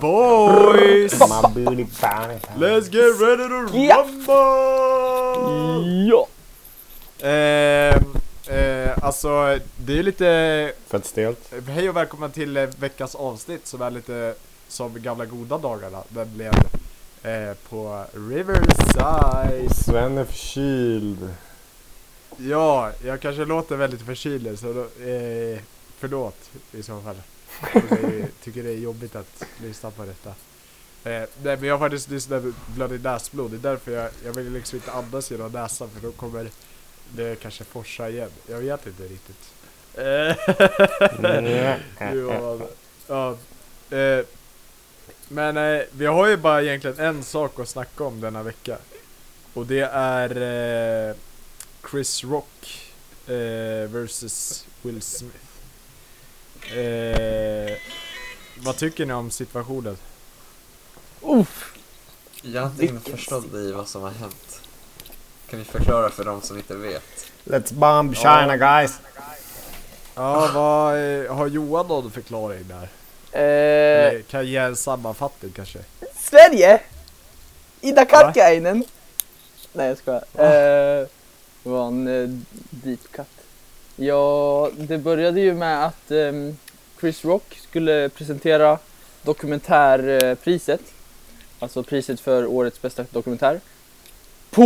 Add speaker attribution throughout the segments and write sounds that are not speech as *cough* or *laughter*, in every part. Speaker 1: Boys!
Speaker 2: My booty pounding.
Speaker 1: Let's get ready to
Speaker 3: Ja.
Speaker 1: rumble!
Speaker 3: Ja!
Speaker 1: Ehm, eh, alltså, det är lite...
Speaker 2: Fett stelt.
Speaker 1: Hej och välkomna till eh, veckans avsnitt som är lite som gamla goda dagarna. Den blev eh, på Riverside.
Speaker 2: Sven är förkyld.
Speaker 1: Ja, jag kanske låter väldigt förkyld så då, eh, förlåt i så fall. Jag tycker det är jobbigt att lyssna på detta. Eh, nej men jag har faktiskt lyssnat blödigt näsblod. Det är därför jag, jag vill liksom inte andas genom näsan för då kommer det kanske forsa igen. Jag vet inte riktigt. Eh, ja, ja, eh, men eh, vi har ju bara egentligen en sak att snacka om denna vecka. Och det är eh, Chris Rock eh, versus Will Smith. Eh, vad tycker ni om situationen?
Speaker 3: Uff.
Speaker 4: Jag har inte riktigt förstått i vad som har hänt. Kan ni förklara för de som inte vet?
Speaker 2: Let's bomb China guys.
Speaker 1: Ja, vad eh, har Johan någon förklaring där?
Speaker 3: Eh,
Speaker 1: Eh, kan ge en sammanfattning kanske?
Speaker 3: Sverige! Ida Karkiainen! Nej jag skojar. Eh, var en eh, deep cut. Ja, det började ju med att ehm, Chris Rock skulle presentera dokumentärpriset. Alltså priset för årets bästa dokumentär. På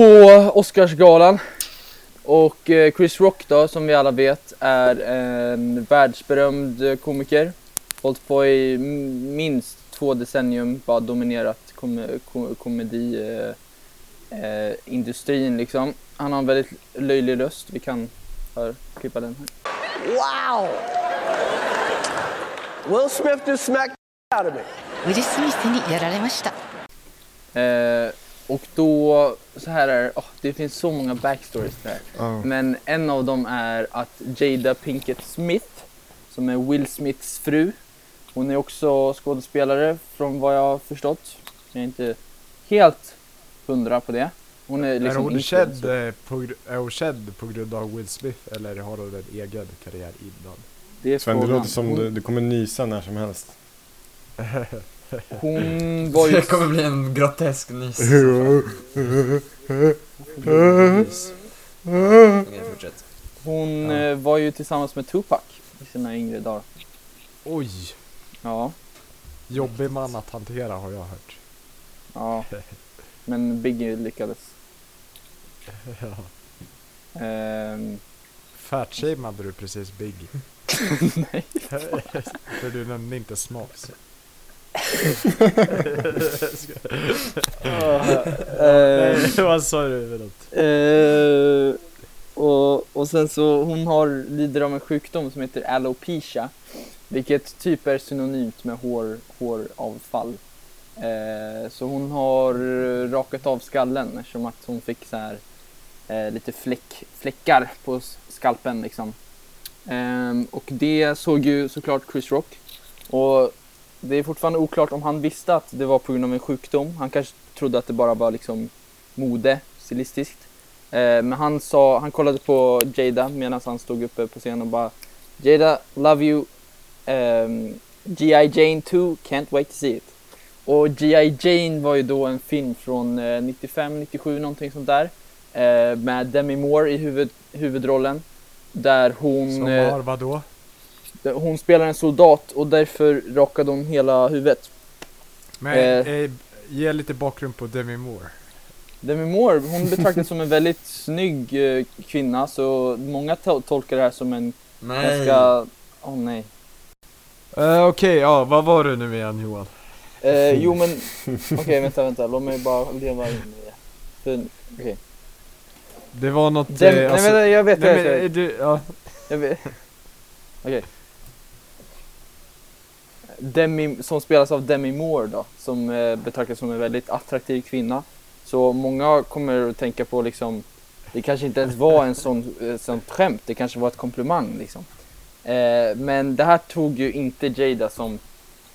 Speaker 3: Oscarsgalan. Och eh, Chris Rock då, som vi alla vet, är en världsberömd komiker. Hållit på i m- minst två decennium, bara dominerat kom- kom- komediindustrin eh, eh, industrin liksom. Han har en väldigt löjlig röst, vi kan här, klippa den här.
Speaker 5: Wow! Will Smith just smacked the out of me.
Speaker 6: ウィル・スミスにやられました
Speaker 3: Eh, och då, så här är det, åh, det finns så många backstories där. Men en av dem är att Jada Pinkett Smith, som är Will Smiths fru, hon är också skådespelare från vad jag har förstått. Jag är inte helt hundra på det. Hon är liksom
Speaker 1: är, hon
Speaker 3: influencer.
Speaker 1: känd, eh, på, gr- är hon känd på grund av Will Smith eller har hon en egen karriär innan?
Speaker 3: Det är
Speaker 2: Sven, det
Speaker 3: frågan.
Speaker 2: låter som du, du kommer nysa när som helst.
Speaker 3: Hon var
Speaker 4: *laughs*
Speaker 3: ju...
Speaker 4: Det kommer bli en grotesk nys.
Speaker 3: Eh.
Speaker 4: Okej, fortsätt.
Speaker 3: Hon eh, var ju tillsammans med Tupac i sina yngre dagar.
Speaker 1: Oj!
Speaker 3: Ja,
Speaker 1: Jobbig man att hantera har jag hört. *laughs*
Speaker 3: ja. Men Biggie lyckades. Ehm,
Speaker 1: Fatshameade du precis Big?
Speaker 3: *laughs* nej.
Speaker 1: *laughs* För du nämnde inte *laughs* smak.
Speaker 3: *laughs* Ehm,
Speaker 1: Vad sa du för något?
Speaker 3: Eh, och, och sen så hon har, lider av en sjukdom som heter alopecia. Vilket typ är synonymt med hår, håravfall. Eh, så hon har eh, rakat av skallen eftersom att hon fick så här eh, lite fläck, fläckar på s- skalpen liksom. Ehm, och det såg ju såklart Chris Rock. Och det är fortfarande oklart om han visste att det var på grund av en sjukdom. Han kanske trodde att det bara var liksom mode stilistiskt. Eh, men han, sa, han kollade på Jada medan han stod uppe på scenen och bara Jada, love you. Ehm, G.I. Jane 2, can't wait to see it. Och G.I. Jane var ju då en film från eh, 95, 97 någonting sånt där. Eh, med Demi Moore i huvud, huvudrollen. Där hon...
Speaker 1: Som
Speaker 3: eh,
Speaker 1: har vadå?
Speaker 3: hon spelar en soldat och därför rakade hon hela huvudet.
Speaker 1: Men eh, ge lite bakgrund på Demi Moore.
Speaker 3: Demi Moore,
Speaker 1: *laughs*
Speaker 3: hon betraktas som en väldigt snygg eh, kvinna så många to- tolkar det här som en
Speaker 4: Nej!
Speaker 3: ganska... Åh nej.
Speaker 1: Eh, Okej, ja, vad var du nu igen Johan?
Speaker 3: Eh, jo men, okej vänta vänta, låt mig bara leva in i det. För- Okej.
Speaker 1: Det var något...
Speaker 3: Dem-
Speaker 1: eh,
Speaker 3: Nej
Speaker 1: alltså-
Speaker 3: men jag vet, jag
Speaker 1: nej,
Speaker 3: vet, jag
Speaker 1: men, eh,
Speaker 3: vet.
Speaker 1: du, ja.
Speaker 3: Jag vet. Okej. Demi, som spelas av Demi Moore då, som eh, betraktas som en väldigt attraktiv kvinna. Så många kommer att tänka på liksom, det kanske inte ens var en sån, eh, sånt skämt, det kanske var ett komplimang liksom. Eh, men det här tog ju inte Jada som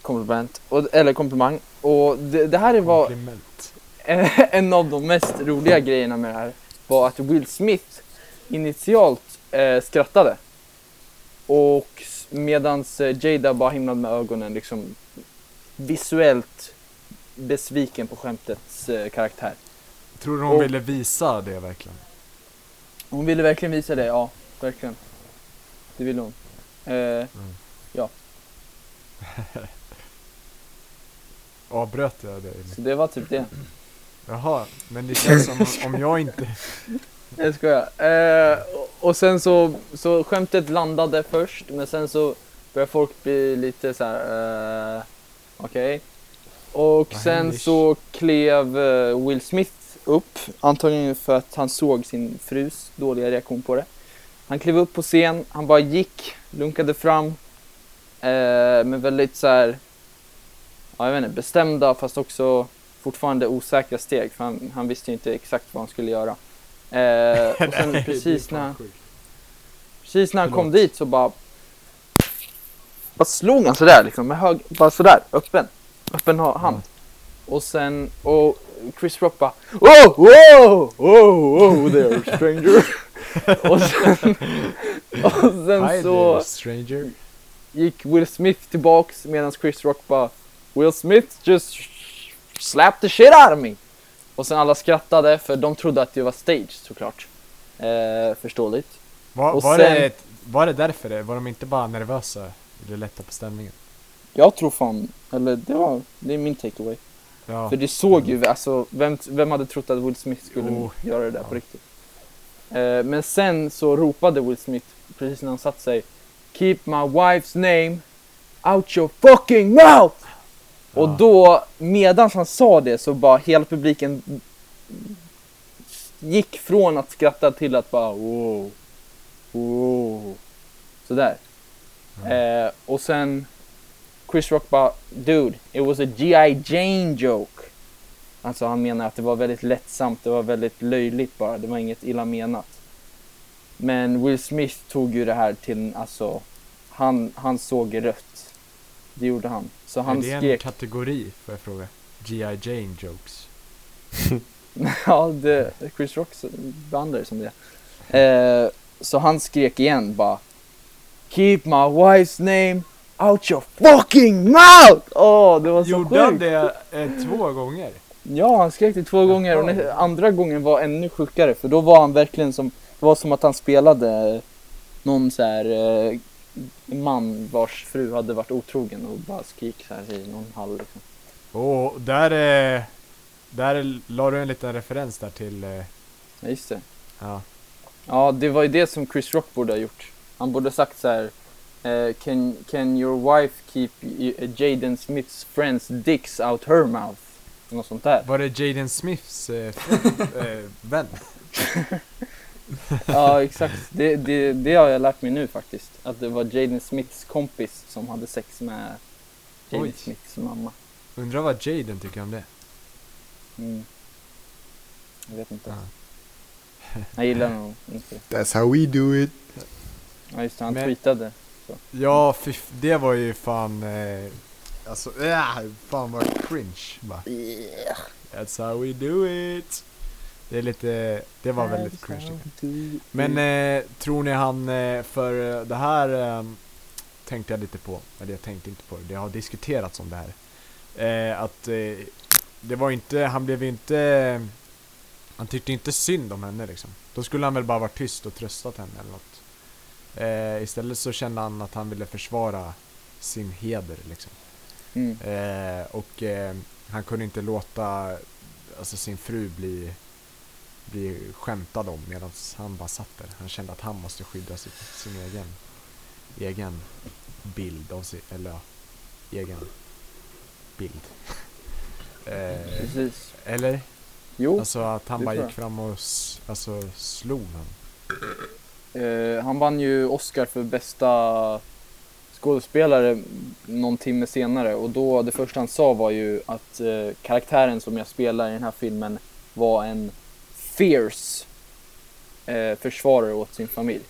Speaker 3: komplement, och, eller komplimang. Och det, det här var
Speaker 1: Kompliment.
Speaker 3: Eh, en av de mest roliga grejerna med det här var att Will Smith initialt eh, skrattade. Och s- medans eh, Jada bara himlade med ögonen liksom visuellt besviken på skämtets eh, karaktär.
Speaker 1: Tror du hon
Speaker 3: Och-
Speaker 1: ville visa det verkligen?
Speaker 3: Hon ville verkligen visa det, ja. Verkligen. Det ville hon. Eh,
Speaker 1: Avbröt jag dig?
Speaker 3: Så det var typ det.
Speaker 1: Jaha, men det känns som om jag inte...
Speaker 3: Jag skojar. Eh, och- och sen så, så skämtet landade först, men sen så började folk bli lite så här. Eh, Okej. Och
Speaker 1: Vad
Speaker 3: sen
Speaker 1: händer?
Speaker 3: så klev eh, Will Smith upp, antagligen för att han såg sin frus dåliga reaktion på det. Han klev upp på scen, han bara gick, lunkade fram, eh, med väldigt så här, ja, jag vet inte, bestämda fast också fortfarande osäkra steg, för han, han visste ju inte exakt vad han skulle göra. Eh, och sen precis när, Precis när han kom dit så bara... Bara slog han sådär liksom, med hög... Bara sådär, öppen. Öppen ha- hand. Och sen, och Chris Rock bara... Oh, oh, oh, oh there stranger. och sen... Och sen
Speaker 1: Hi
Speaker 3: så
Speaker 1: there, stranger.
Speaker 3: gick Will Smith tillbaks medan Chris Rock bara Will Smith just slapped the shit out of me. Och sen alla skrattade för de trodde att det var stage såklart. Eh, förståeligt.
Speaker 1: Var,
Speaker 3: Och
Speaker 1: var,
Speaker 3: sen-
Speaker 1: det, ett- var det därför det? Var de inte bara nervösa? Eller lätta på stämningen?
Speaker 3: Jag tror fan, eller det var, det är min takeaway.
Speaker 1: Ja.
Speaker 3: För det såg ju, alltså vem, vem hade trott att Will Smith skulle
Speaker 1: Jo.
Speaker 3: göra det där på
Speaker 1: Oh. Ja.
Speaker 3: riktigt? Eh, men sen så ropade Will Smith precis när han satt sig Keep my wife's name out your fucking mouth! Och
Speaker 1: Ja.
Speaker 3: då, medan han sa det så bara hela publiken gick från att skratta till att bara wow, wow, sådär. Eh, och sen Chris Rock bara Dude, it was a G.I. Jane joke. Alltså han menar att det var väldigt lättsamt, det var väldigt löjligt bara, det var inget illa menat. Men Will Smith tog ju det här till, en- alltså, han, han såg rött. Det gjorde han. Så han
Speaker 1: är det en
Speaker 3: skrek.
Speaker 1: kategori? Får jag fråga? G.I. Jane jokes.
Speaker 3: Ja, det, Chris Rock bandade som det. Eh, så han skrek igen bara Keep my wife's name out your fucking mouth! Åh, det var så
Speaker 1: Gjorde
Speaker 3: Alltså, sjukt!
Speaker 1: han det eh, två gånger?
Speaker 3: Ja, han skrek det två gånger och nä- andra gången var ännu sjukare för då var han verkligen som, det var som att han spelade någon så här eh, man vars fru hade varit otrogen och bara skrek så här i någon hall liksom.
Speaker 1: Och där... Eh, där la du en liten referens där till... Eh,
Speaker 3: Ja, just det.
Speaker 1: ja.
Speaker 3: Ja, det var ju det som Chris Rock borde ha gjort. Han borde ha sagt så här. eh, can, can your wife keep y- eh, Jaden Smiths friends dicks out her mouth? Något sånt där.
Speaker 1: Var det Jaden Smiths eh, fru-
Speaker 3: *laughs*
Speaker 1: eh, vän?
Speaker 3: Ja, exakt. Det, det, det har jag lärt mig nu faktiskt. Att det var Jaden Smiths kompis som hade sex med Jaden
Speaker 1: Oj.
Speaker 3: Smiths mamma.
Speaker 1: Undrar vad Jaden tycker om det?
Speaker 3: Mm. Jag vet inte.
Speaker 1: Ja.
Speaker 3: Jag gillar nog inte det.
Speaker 2: That's how we do it.
Speaker 3: Ja, just det. Han
Speaker 1: Men-
Speaker 3: tweetade.
Speaker 1: Ja, fy, f- det var ju fan... Eh, alltså, äh, fan vad cringe. Bara. That's how we do it. Det är lite, det var väldigt cringe. tycker jag. Men eh, tror ni han, eh, för eh, det här eh, tänkte jag lite på, eller jag tänkte inte på det, det har diskuterats om det här. Eh, att eh, det var inte, han blev inte, han tyckte inte synd om henne liksom. Då skulle han väl bara varit tyst och tröstat henne eller något. Eh, istället så kände han att han ville försvara sin heder liksom.
Speaker 3: Mm.
Speaker 1: Eh, och eh, han kunde inte låta alltså, sin fru bli, bli skämtad om medan han bara satt där. Han kände att han måste skydda sitt, sin egen, egen bild av sig, eller ja, egen bild. *laughs* eh,
Speaker 3: Precis.
Speaker 1: eller?
Speaker 3: Jo.
Speaker 1: Alltså att han
Speaker 3: det
Speaker 1: bara
Speaker 3: tror
Speaker 1: gick
Speaker 3: jag.
Speaker 1: fram och s- alltså, slog honom.
Speaker 3: Eh, han vann ju Oscar för bästa skådespelare någon timme senare och då det första han sa var ju att eh, karaktären som jag spelar i den här filmen var en fierce eh, försvarare åt sin familj.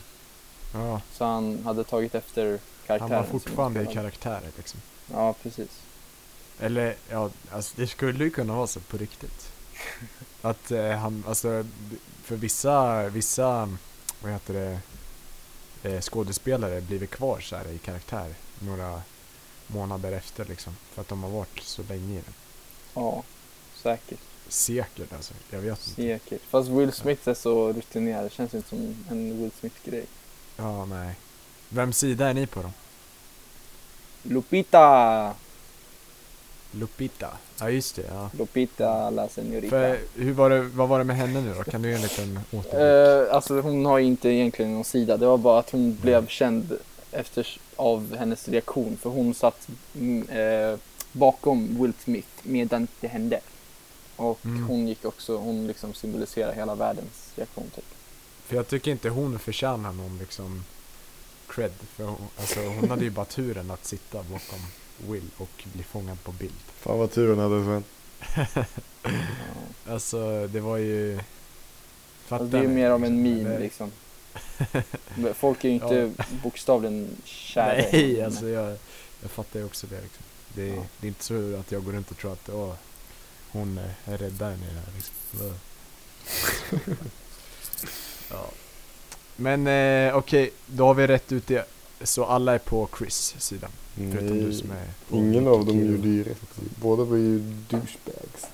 Speaker 1: Ja,
Speaker 3: Så han hade tagit efter
Speaker 1: han
Speaker 3: karaktären.
Speaker 1: var
Speaker 3: som
Speaker 1: fortfarande i
Speaker 3: spelade.
Speaker 1: karaktär liksom.
Speaker 3: Ja, precis.
Speaker 1: Eller ja, alltså det skulle ju kunna vara så på
Speaker 3: *laughs*
Speaker 1: riktigt. Att eh, han, alltså d- för vissa, vissa, vad heter det, eh, skådespelare blivit kvar så här i karaktär några månader efter liksom. För att de har varit så länge i den.
Speaker 3: Ja, säkert.
Speaker 1: Säkert alltså, jag vet inte.
Speaker 3: Säkert. Fast Will Smith är så rutinerad. Det känns inte som en Will Smith-grej.
Speaker 1: Ja, nej. Vems sida är ni på då?
Speaker 3: Lupita!
Speaker 1: Lupita. Ja, just det. Ja.
Speaker 3: Lupita la senorita.
Speaker 1: För, hur var det, vad var det med henne nu då? Kan du ge en liten återblick?
Speaker 3: Eh, alltså hon har ju inte egentligen någon sida. Det var bara att hon blev känd efter, av hennes reaktion. För hon satt mm, eh, bakom Will Smith medan det hände. Och
Speaker 1: Mm.
Speaker 3: hon gick också, hon liksom symboliserar hela världens reaktion typ.
Speaker 1: För jag tycker inte hon förtjänar någon liksom cred. För hon, alltså, hon hade ju bara turen att sitta bakom Will och bli fångad på bild.
Speaker 2: Fan vad tur hon hade Sven.
Speaker 1: Alltså, det var ju... Fattar
Speaker 3: Alltså, det är ju
Speaker 1: ni?
Speaker 3: mer av en
Speaker 1: Liksom,
Speaker 3: meme
Speaker 1: eller- *laughs*
Speaker 3: liksom. Men Folk är ju inte bokstavligen kära. i
Speaker 1: Nej,
Speaker 3: henne.
Speaker 1: alltså jag, jag fattar ju också det liksom. Det är,
Speaker 3: Ja.
Speaker 1: det är inte så att jag går runt och tror att åh, hon eh, är räddaren i det här liksom. Blö. *laughs* ja. Men eh, okej, då har vi rätt ut det. Så alla är på Chris sida. Förutom du
Speaker 2: Nej,
Speaker 1: som är på
Speaker 2: ingen av dem
Speaker 1: Kiro.
Speaker 2: gjorde ju rätt. Båda var ju douchebags.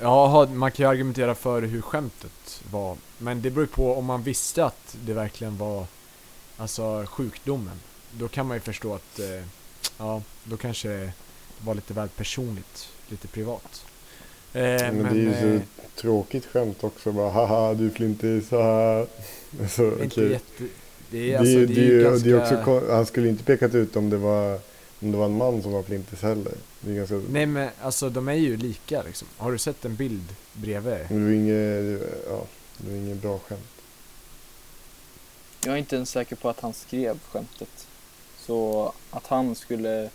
Speaker 1: Jaha, man kan ju argumentera för hur skämtet var. Men det beror ju på om man visste att det verkligen var alltså sjukdomen. Då kan man ju förstå att eh, ja, då kanske det var lite väl personligt, lite privat. Eh, men
Speaker 2: men, det är ju
Speaker 1: eh,
Speaker 2: så tråkigt skämt också. Bara haha du flintis, haha. Alltså,
Speaker 1: det är inte
Speaker 2: okej.
Speaker 1: jätte... Det
Speaker 2: Det
Speaker 1: är, alltså, det är, ju ganska...
Speaker 2: det är också, kon- han skulle inte pekat ut om det var, om det var en man som var flintis heller. Det är ganska...
Speaker 1: Nej men alltså de är ju lika liksom. Har du sett en bild bredvid?
Speaker 2: Men det var inget, ja, det var inget bra skämt.
Speaker 3: Jag är inte ens säker på att han skrev skämtet. Så att han skulle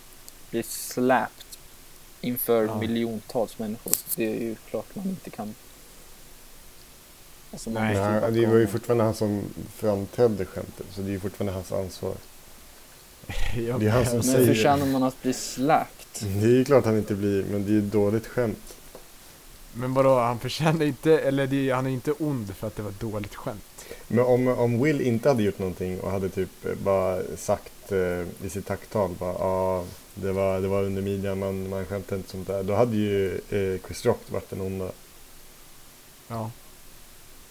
Speaker 3: bli släppt inför
Speaker 1: Ja.
Speaker 3: miljontals människor, det är ju klart man inte kan. Alltså, man
Speaker 1: Nej.
Speaker 2: Nej,
Speaker 3: måste backa
Speaker 2: det var ju
Speaker 3: honom.
Speaker 2: fortfarande han som framträdde skämtet, så det är ju fortfarande hans ansvar.
Speaker 1: *laughs* Jag-
Speaker 2: Det är han som
Speaker 1: jag-
Speaker 2: säger
Speaker 3: Men
Speaker 2: det.
Speaker 3: förtjänar man att bli släppt?
Speaker 1: Mm.
Speaker 2: Det är ju klart han inte blir, men det är ju ett dåligt skämt.
Speaker 1: Men vadå, han förtjänar inte, eller det, är- han är inte ond för att det var ett dåligt skämt.
Speaker 2: Men om, om Will inte hade gjort någonting och hade typ eh, bara sagt eh, i sitt tacktal bara ah, det var, det var under midjan, man, man skämtade inte sånt där. Då hade ju eh, Chris Rock varit den onda.
Speaker 1: Eh, Ja.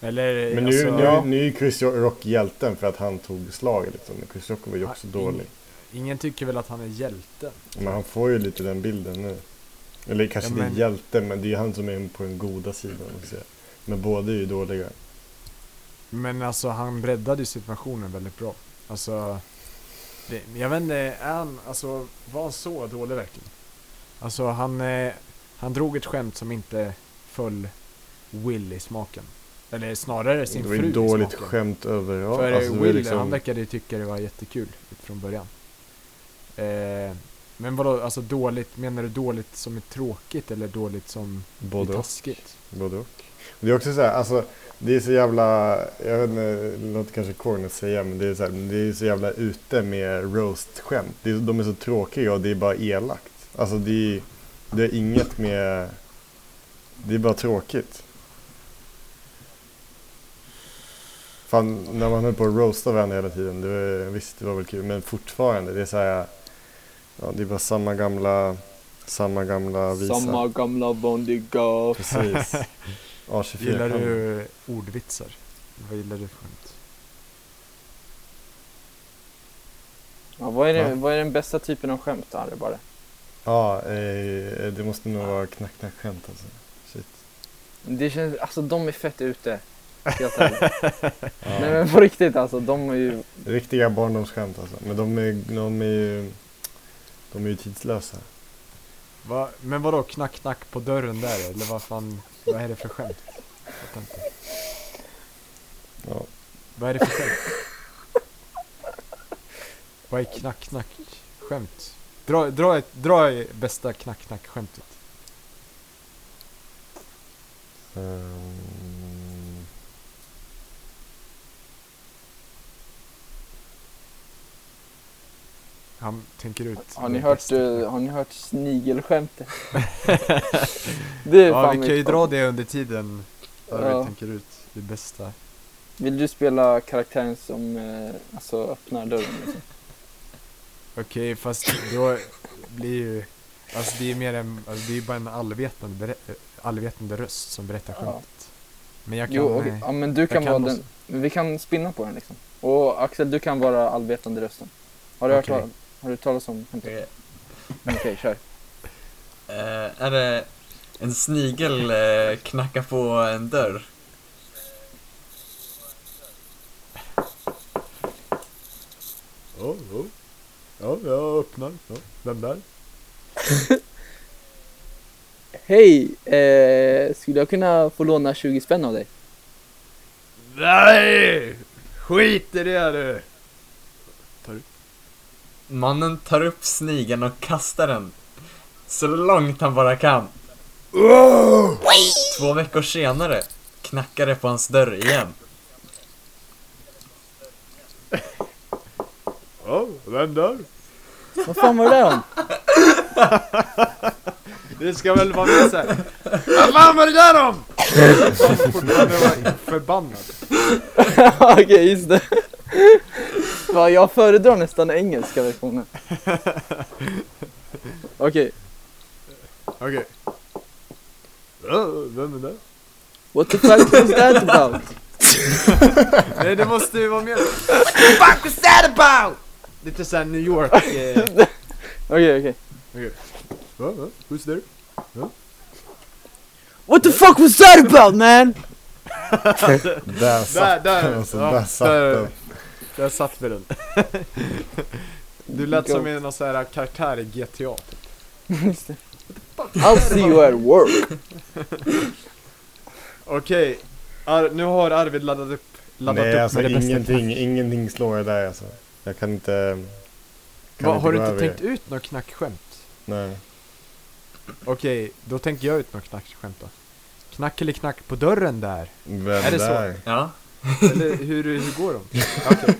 Speaker 1: Eller
Speaker 2: Men nu,
Speaker 1: alltså,
Speaker 2: nu, nu är ju Chris Rock hjälten för att han tog slaget liksom. Men Chris Rock var ju också
Speaker 1: Ja,
Speaker 2: dålig.
Speaker 1: ingen tycker väl att han är hjälten?
Speaker 2: Men han får ju lite den bilden nu. Eller kanske
Speaker 1: Ja,
Speaker 2: inte
Speaker 1: men-
Speaker 2: hjälten, men det är ju han som är på den goda sidan. om man säger. Men båda är ju dåliga.
Speaker 1: Men alltså han breddade ju situationen väldigt bra. Alltså, det, jag vet inte, är han, alltså, var han så dålig verkligen? Alltså han, eh, han drog ett skämt som inte föll Will i smaken. Eller snarare sin
Speaker 2: Det var
Speaker 1: fru
Speaker 2: ju dåligt
Speaker 1: i smaken.
Speaker 2: skämt överallt.
Speaker 1: För
Speaker 2: Alltså, det
Speaker 1: eh,
Speaker 2: var ju
Speaker 1: Will,
Speaker 2: liksom-
Speaker 1: han verkade ju tycka det var jättekul från början. Eh, men vadå, alltså dåligt, menar du dåligt som är tråkigt eller dåligt som är
Speaker 2: Både och.
Speaker 1: taskigt?
Speaker 2: Både och. Det är också så här, alltså, det är så jävla, jag vet inte, det låter kanske corny att säga, men det är så, här, det är så jävla ute med roast-skämt. Det är, de är så tråkiga och det är bara elakt. Alltså det är, det är inget med, det är bara tråkigt. Fan, när man höll på att roasta varandra hela tiden, det var, visst det var väl kul, men fortfarande, det är så här, ja, det är bara samma gamla, samma gamla visa.
Speaker 3: Samma gamla vanliga.
Speaker 2: Precis. *laughs* A24.
Speaker 1: Gillar du ordvitsar? Vad gillar du för skämt?
Speaker 3: Ja, vad, är det,
Speaker 2: Ja.
Speaker 3: vad är den bästa typen av skämt, Harry, bara?
Speaker 2: Ja, eh, det måste nog vara knack-knack-skämt alltså. Shit.
Speaker 3: Det känns, alltså de är fett ute. Helt ärligt.
Speaker 2: *laughs* Ja.
Speaker 3: Nej men på riktigt alltså, de är ju
Speaker 2: Riktiga barndomsskämt alltså. Men de är, de är ju, de är ju tidslösa.
Speaker 1: Va, men vadå knack knack på dörren där eller vad fan, vad är det för skämt? Fattar inte.
Speaker 2: Ja.
Speaker 1: Vad är det för skämt? Vad är knack knack skämt? Dra, dra, ett, dra i bästa knack knack skämtet.
Speaker 2: Ehm.
Speaker 1: Han tänker ut.
Speaker 3: Har ni,
Speaker 1: det
Speaker 3: hört,
Speaker 1: bästa.
Speaker 3: eh, har ni hört *laughs* snigelskämtet? det är
Speaker 1: Ja,
Speaker 3: fan
Speaker 1: vi kan ju
Speaker 3: mitt-
Speaker 1: dra det under tiden. Där
Speaker 3: Ja.
Speaker 1: vi tänker ut det bästa.
Speaker 3: Vill du spela karaktären som eh, alltså, öppnar dörren? Liksom?
Speaker 1: Okej, fast då blir ju... Alltså det är mer en, alltså det är ju bara en allvetande, berä- allvetande röst som berättar
Speaker 3: Ja.
Speaker 1: skämtet. Men jag kan...
Speaker 3: Jo, okej.
Speaker 1: eh,
Speaker 3: ja, men du
Speaker 1: jag
Speaker 3: kan, vara
Speaker 1: också-
Speaker 3: den. Men vi kan spinna på den liksom. Och Axel, du kan vara allvetande rösten. Har du
Speaker 1: Okej.
Speaker 3: hört talas, har du talas om skämtet?
Speaker 4: Okej.
Speaker 3: Okej, kör.
Speaker 4: Eh, är det en snigel eh, knackar på en dörr?
Speaker 1: Oh, oh. Ja, jag öppnar. Ja. Vem där?
Speaker 3: Hej! Eh, skulle jag kunna få låna 20 spänn av dig?
Speaker 1: Nej! Skit i det du!
Speaker 4: Mannen tar upp snigeln och kastar den så långt han bara kan. Två veckor senare knackar det på hans dörr igen.
Speaker 1: Ja, vem där?
Speaker 3: Vad fan var det där om?
Speaker 1: Det ska väl vara med såhär. Vad fan var det där om? Han fortfarande var *laughs* förbannad.
Speaker 3: *laughs* Okej, just det. Va, jag föredrar nästan engelska *laughs* versionen. Okej,
Speaker 1: Okej. Ja, vem är det?
Speaker 3: what the fuck was that *laughs* about?
Speaker 1: Nej, det måste ju vara med. What the fuck was that about? Lite såhär New York.
Speaker 2: *laughs*
Speaker 1: Eh.
Speaker 3: Okej, okej.
Speaker 1: Va, va? Who's there?
Speaker 3: What the fuck was that about man?
Speaker 2: Där satt
Speaker 1: där,
Speaker 2: den alltså.
Speaker 1: ja,
Speaker 2: där satt
Speaker 1: där.
Speaker 2: den.
Speaker 1: Där satt vi
Speaker 2: *laughs*
Speaker 1: den. Du lät som en någon sån här karaktär i GTA.
Speaker 3: I'll see you at work.
Speaker 1: Okej, Ar- nu har Arvid laddat upp, laddat
Speaker 2: Nej,
Speaker 1: upp
Speaker 2: alltså
Speaker 1: med det bästa.
Speaker 2: ingenting, ingenting slår jag där alltså. Jag kan inte... kan
Speaker 1: Va, har du
Speaker 2: gå
Speaker 1: inte
Speaker 2: över
Speaker 1: tänkt
Speaker 2: det.
Speaker 1: ut något knackskämt?
Speaker 2: Nej.
Speaker 1: Okej, då tänker jag ut något knackskämt då. Knack eller knack på dörren där?
Speaker 2: Vem
Speaker 1: Är det så?
Speaker 2: där?
Speaker 4: Ja,
Speaker 1: Eller hur, hur går de? Okej,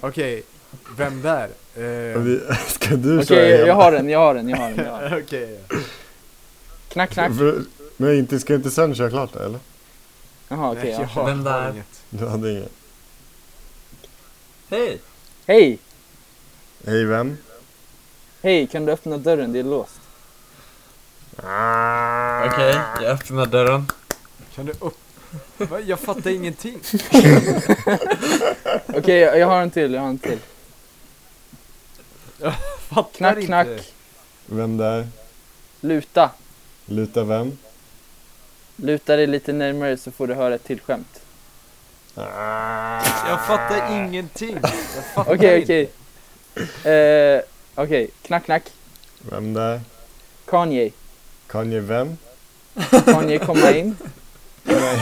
Speaker 1: Okej, vem där? Eh,
Speaker 2: Vi, *laughs* ska du köra
Speaker 3: *laughs* Okej,
Speaker 2: hela?
Speaker 3: jag har den, jag har den, jag har den. Jag har den.
Speaker 1: Okej,
Speaker 3: Knack, knack.
Speaker 2: För, men inte, ska inte sen köra klart det, eller?
Speaker 3: Jaha, okej.
Speaker 1: Nej, jag
Speaker 3: ja.
Speaker 1: har
Speaker 4: Vem där?
Speaker 1: inget.
Speaker 2: Du hade inget.
Speaker 4: hej!
Speaker 3: Hej!
Speaker 2: Hej vem?
Speaker 3: Hej, kan du öppna dörren? Det är låst.
Speaker 4: Okej, jag öppnar dörren.
Speaker 1: Kan du upp? Va, jag fattar ingenting.
Speaker 3: Okej, jag, jag har en till, jag har en till.
Speaker 1: Fattar
Speaker 3: Knack,
Speaker 1: inte.
Speaker 3: knack.
Speaker 2: Vem där?
Speaker 3: Luta.
Speaker 2: Luta vem?
Speaker 3: Luta dig lite närmare så får du höra ett till skämt.
Speaker 1: Jag fattar ingenting. Jag fattar
Speaker 3: Okej,
Speaker 1: inte.
Speaker 3: okej. Eh, Okej, knack, knack.
Speaker 2: Vem där?
Speaker 3: Kanye.
Speaker 2: Kanye vem?
Speaker 3: Kanye komma *laughs* in.
Speaker 1: Ja,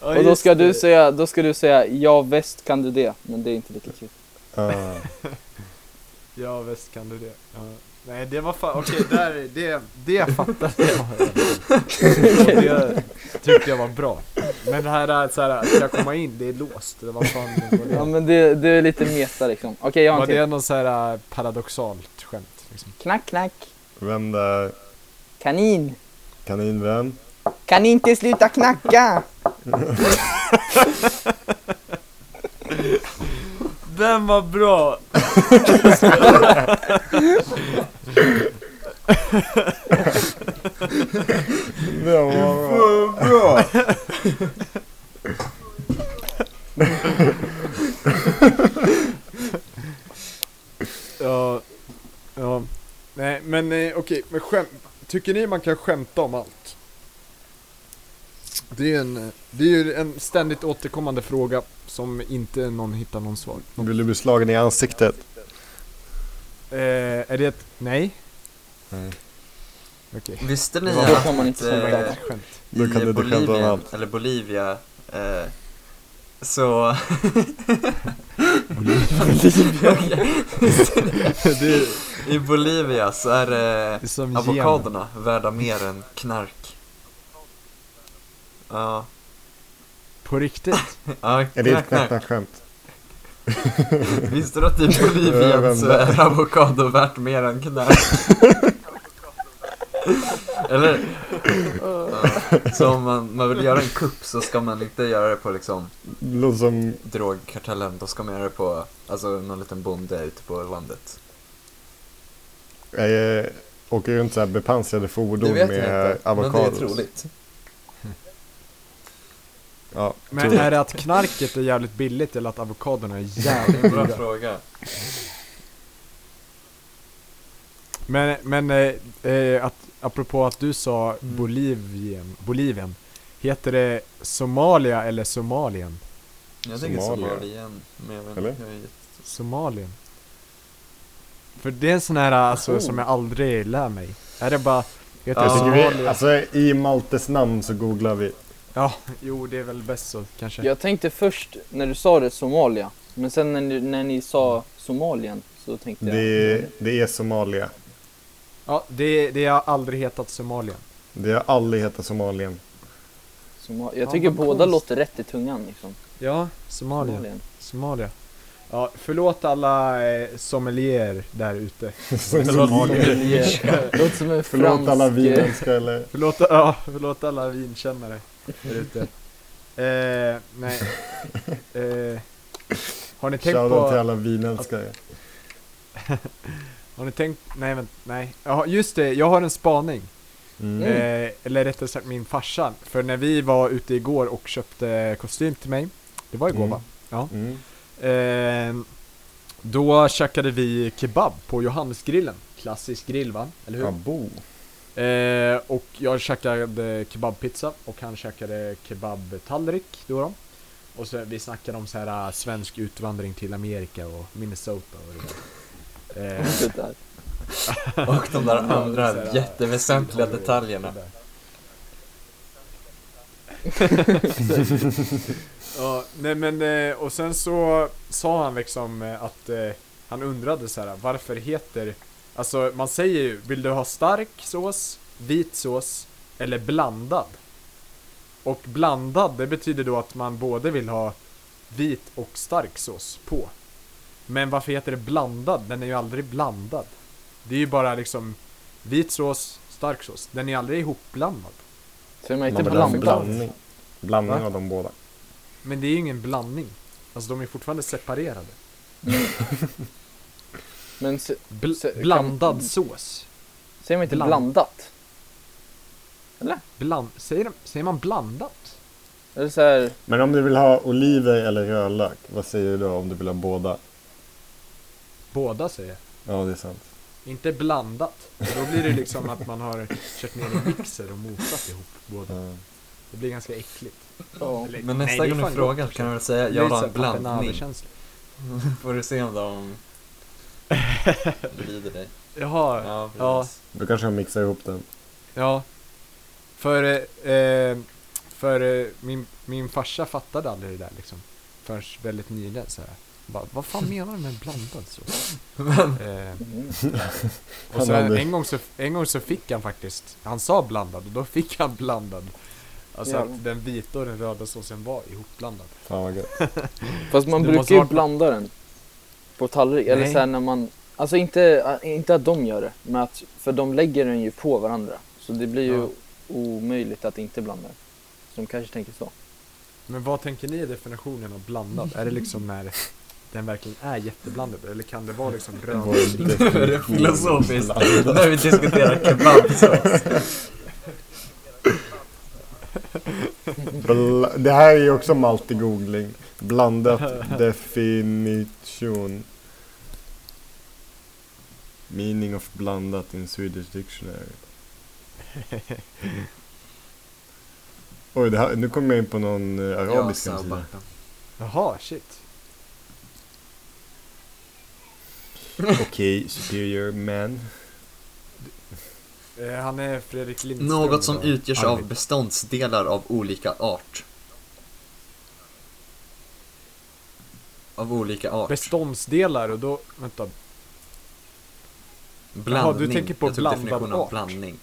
Speaker 3: Och då
Speaker 1: just
Speaker 3: ska du
Speaker 1: det.
Speaker 3: säga, då ska du säga ja väst kan du det. Men det är inte lika kul.
Speaker 2: Ah,
Speaker 1: Ja visst kan du det. Ja. Nej det var fan, okej där, det, det
Speaker 3: *laughs*
Speaker 1: fattade jag. Och det tyckte jag var bra. Men det här är så här, ska jag komma in? Det är låst. Det var fan, vad
Speaker 3: Ja
Speaker 1: det?
Speaker 3: men det, det är lite meta liksom. Okej, jag har
Speaker 1: Var
Speaker 3: en till.
Speaker 1: det någon så här äh, paradoxalt skämt? Liksom?
Speaker 3: Knack, knack.
Speaker 2: vem där?
Speaker 3: Kanin.
Speaker 2: Kanin vem?
Speaker 3: Kan inte sluta knacka.
Speaker 1: Den var bra!
Speaker 2: Det var bra!
Speaker 1: Ja, ja. Nej men eh, okej, men skämt. Tycker ni man kan skämta om allt? Det är ju en, det är ju en ständigt återkommande fråga som inte någon hittar någon svar på.
Speaker 2: Vill du bli slagen i ansiktet?
Speaker 1: Eh, är det ett nej?
Speaker 2: Nej.
Speaker 1: Okej.
Speaker 4: Visste ni
Speaker 1: Vad
Speaker 3: Då får man
Speaker 4: att
Speaker 3: inte skämta.
Speaker 4: eh,
Speaker 1: Ett *laughs* skämt.
Speaker 2: Då kan du
Speaker 4: i
Speaker 2: inte skämta om
Speaker 4: Bolivien,
Speaker 2: allt.
Speaker 4: eller Bolivia, eh, så... *laughs* I Bolivia så är det
Speaker 1: Det är som Jen.
Speaker 4: avokadorna värda mer än knark. Ja,
Speaker 1: På *laughs* riktigt?
Speaker 4: ja
Speaker 2: Är det ett
Speaker 4: knack, knack.
Speaker 2: knack-knack-skämt?
Speaker 4: Visste du att i
Speaker 2: Vem
Speaker 4: Bolivien så
Speaker 2: där?
Speaker 4: är avokado värt mer än knark? Eller?
Speaker 2: *laughs*
Speaker 4: Ja. Så om man, man vill göra en kupp så ska man inte göra det på liksom
Speaker 2: Låter som...
Speaker 4: drogkartellen. Då ska man göra det på alltså, någon liten bonde ute på landet.
Speaker 2: Jag eh, åker runt så här bepansrade fordon
Speaker 4: Det vet jag
Speaker 2: med eh,
Speaker 4: inte, men det är
Speaker 2: avokados.
Speaker 4: troligt.
Speaker 2: Ja,
Speaker 1: Men är det att knarket är jävligt billigt eller att avokadorna är *laughs* jävligt
Speaker 4: Bra
Speaker 1: dyra?
Speaker 4: fråga.
Speaker 1: Men, men eh, eh, att, apropå att du sa Bolivien, Bolivien, heter det Somalia eller Somalien?
Speaker 4: Jag tänker
Speaker 2: Somalia.
Speaker 4: Somalia igen. Men jag vet
Speaker 2: Eller?
Speaker 4: inte. jag är-
Speaker 1: Somalien? För det är en sån här alltså, som jag aldrig lär mig. Är det bara, heter det
Speaker 4: Ja.
Speaker 2: Jag tycker vi,
Speaker 1: Somalia?
Speaker 2: alltså i Maltes namn så googlar vi.
Speaker 1: Ja, jo det är väl bäst så kanske.
Speaker 3: Jag tänkte först när du sa det Somalia, men sen när ni, när ni sa Somalien så tänkte jag...
Speaker 2: Det, det är Somalia.
Speaker 1: Ja, det, det har aldrig hetat Somalia.
Speaker 2: Det har aldrig hetat Somalien.
Speaker 3: Soma-
Speaker 1: Ja,
Speaker 3: jag tycker
Speaker 1: vad
Speaker 3: båda
Speaker 1: konst.
Speaker 3: låter rätt i tungan liksom.
Speaker 1: Ja, Somalia.
Speaker 3: Somalien.
Speaker 1: Somalia. Ja, förlåt alla eh, sommelier där ute.
Speaker 2: Somalia.
Speaker 1: *laughs*
Speaker 3: Det låter som en
Speaker 2: Förlåt
Speaker 3: fransk...
Speaker 2: alla vinälskare eller...
Speaker 1: Förlåt, ja, förlåt alla vinkännare där ute. Eh,
Speaker 2: *laughs*
Speaker 1: nej. Eh, har ni tänkt
Speaker 2: Shoutout till
Speaker 1: på...
Speaker 2: alla vinälskare.
Speaker 1: Har ni tänkt... Nej, vänta, nej. Ja, just det, jag har en spaning.
Speaker 2: Mm.
Speaker 3: Mm.
Speaker 1: Eh, eller rättare sagt min farsa. För när vi var ute igår och köpte kostym till mig. Det var igår
Speaker 2: Mm.
Speaker 1: va?
Speaker 2: Mm.
Speaker 1: Eh, då käkade vi kebab på Johannesgrillen. Klassisk grill va? Eller hur?
Speaker 2: Abo.
Speaker 1: Eh, och jag käkade kebabpizza och han käkade kebabtallrik då då. Och så vi snackade om så här äh, svensk utvandring till Amerika och Minnesota och det där. Eh,
Speaker 3: Det där.
Speaker 4: Och de där
Speaker 1: Ja,
Speaker 4: andra
Speaker 1: så här,
Speaker 4: jätteväsentliga
Speaker 1: Hollywood,
Speaker 4: detaljerna.
Speaker 1: det där. *laughs* ja, nej men eh, och sen så sa han liksom eh, att eh, han undrade så här varför heter Alltså man säger ju, vill du ha stark sås, vit sås eller blandad? Och blandad, det betyder då att man både vill ha vit och stark sås på. Men varför heter det blandad? Den är ju aldrig blandad. Det är ju bara liksom vit sås, stark sås. Den är aldrig ihopblandad.
Speaker 3: Så man inte
Speaker 2: Man vill ha en
Speaker 3: blandad.
Speaker 2: blandning. Blandning
Speaker 1: Va?
Speaker 2: av de båda.
Speaker 1: Men det är ju ingen blandning. Alltså de är fortfarande separerade.
Speaker 3: Men se-
Speaker 1: Bl-
Speaker 3: Så kan-
Speaker 1: blandad sås.
Speaker 3: säger man inte
Speaker 1: Bland-
Speaker 3: blandat?
Speaker 1: Bland, säger, de, säger man blandat?
Speaker 3: Eller så här,
Speaker 2: Men om du vill ha oliver eller rödlök, vad säger du då om du vill ha båda?
Speaker 1: Båda säger jag.
Speaker 2: Ja, det är sant.
Speaker 1: Inte blandat. För Då blir det liksom att man har kört ner i mixer och mosat ihop båda.
Speaker 2: Ja.
Speaker 1: Det blir ganska äckligt.
Speaker 3: ja.
Speaker 1: Eller-
Speaker 4: Men
Speaker 1: nej, det
Speaker 4: nästa
Speaker 1: är
Speaker 4: gång du
Speaker 1: fan
Speaker 4: frågar
Speaker 1: gott. liksom.
Speaker 4: kan du väl säga
Speaker 1: Det är så
Speaker 4: jag vill ha
Speaker 1: här
Speaker 4: en blandning.
Speaker 1: penade-känsla.
Speaker 4: Får du se om de lyder dig.
Speaker 1: Jaha, ja.
Speaker 4: Ja, precis.
Speaker 2: Då kanske jag mixar ihop den.
Speaker 1: För, eh, eh, för eh, min, min farsa fattade aldrig det där liksom. Förrän väldigt nyligen så här. Bara, vad fan menar du med blandad sås? Eh,
Speaker 3: Mm.
Speaker 1: Och
Speaker 2: Han
Speaker 1: så
Speaker 2: hade-
Speaker 1: en, gång så, en gång så fick han faktiskt, han sa blandad och då fick han blandad. Alltså
Speaker 3: Ja.
Speaker 1: att den vita och den röda såsen var ihopblandad.
Speaker 2: Fan vad gött.
Speaker 3: Fast man
Speaker 1: Du måste
Speaker 3: brukar ju
Speaker 1: ha-
Speaker 3: blanda den på tallrik, eller
Speaker 1: Nej.
Speaker 3: så här när man, alltså inte, inte att de gör det, men att, för de lägger den ju på varandra. Så det blir ju
Speaker 1: Ja.
Speaker 3: omöjligt att inte blanda den. Så de kanske tänker så.
Speaker 1: Men vad tänker ni är definitionen av blandad? Är det liksom när den verkligen är jätteblandad? Eller kan det vara liksom röd och *laughs* vit?
Speaker 4: Nu är det
Speaker 2: *laughs*
Speaker 4: filosofiskt. När vi diskuterar kebabsås.
Speaker 2: Bla- Det här är ju också multi-googling. Blandat definition. Meaning of blandat in Swedish dictionary. Oj, det här, nu kom jag in på någon eh, arabisk
Speaker 4: Ja,
Speaker 2: hemsida.
Speaker 4: *laughs* sabbat.
Speaker 1: Jaha, shit.
Speaker 2: Okej, superior man.
Speaker 1: Eh, han är Fredrik Lindström.
Speaker 4: Något som
Speaker 1: då.
Speaker 4: utgörs av
Speaker 1: Arvid.
Speaker 4: beståndsdelar av olika art. Av olika art.
Speaker 1: Beståndsdelar och då, vänta.
Speaker 4: Blandning.
Speaker 1: Jaha, du tänker på
Speaker 4: jag tog
Speaker 1: blandad
Speaker 4: definitionen
Speaker 1: art.
Speaker 4: av blandning.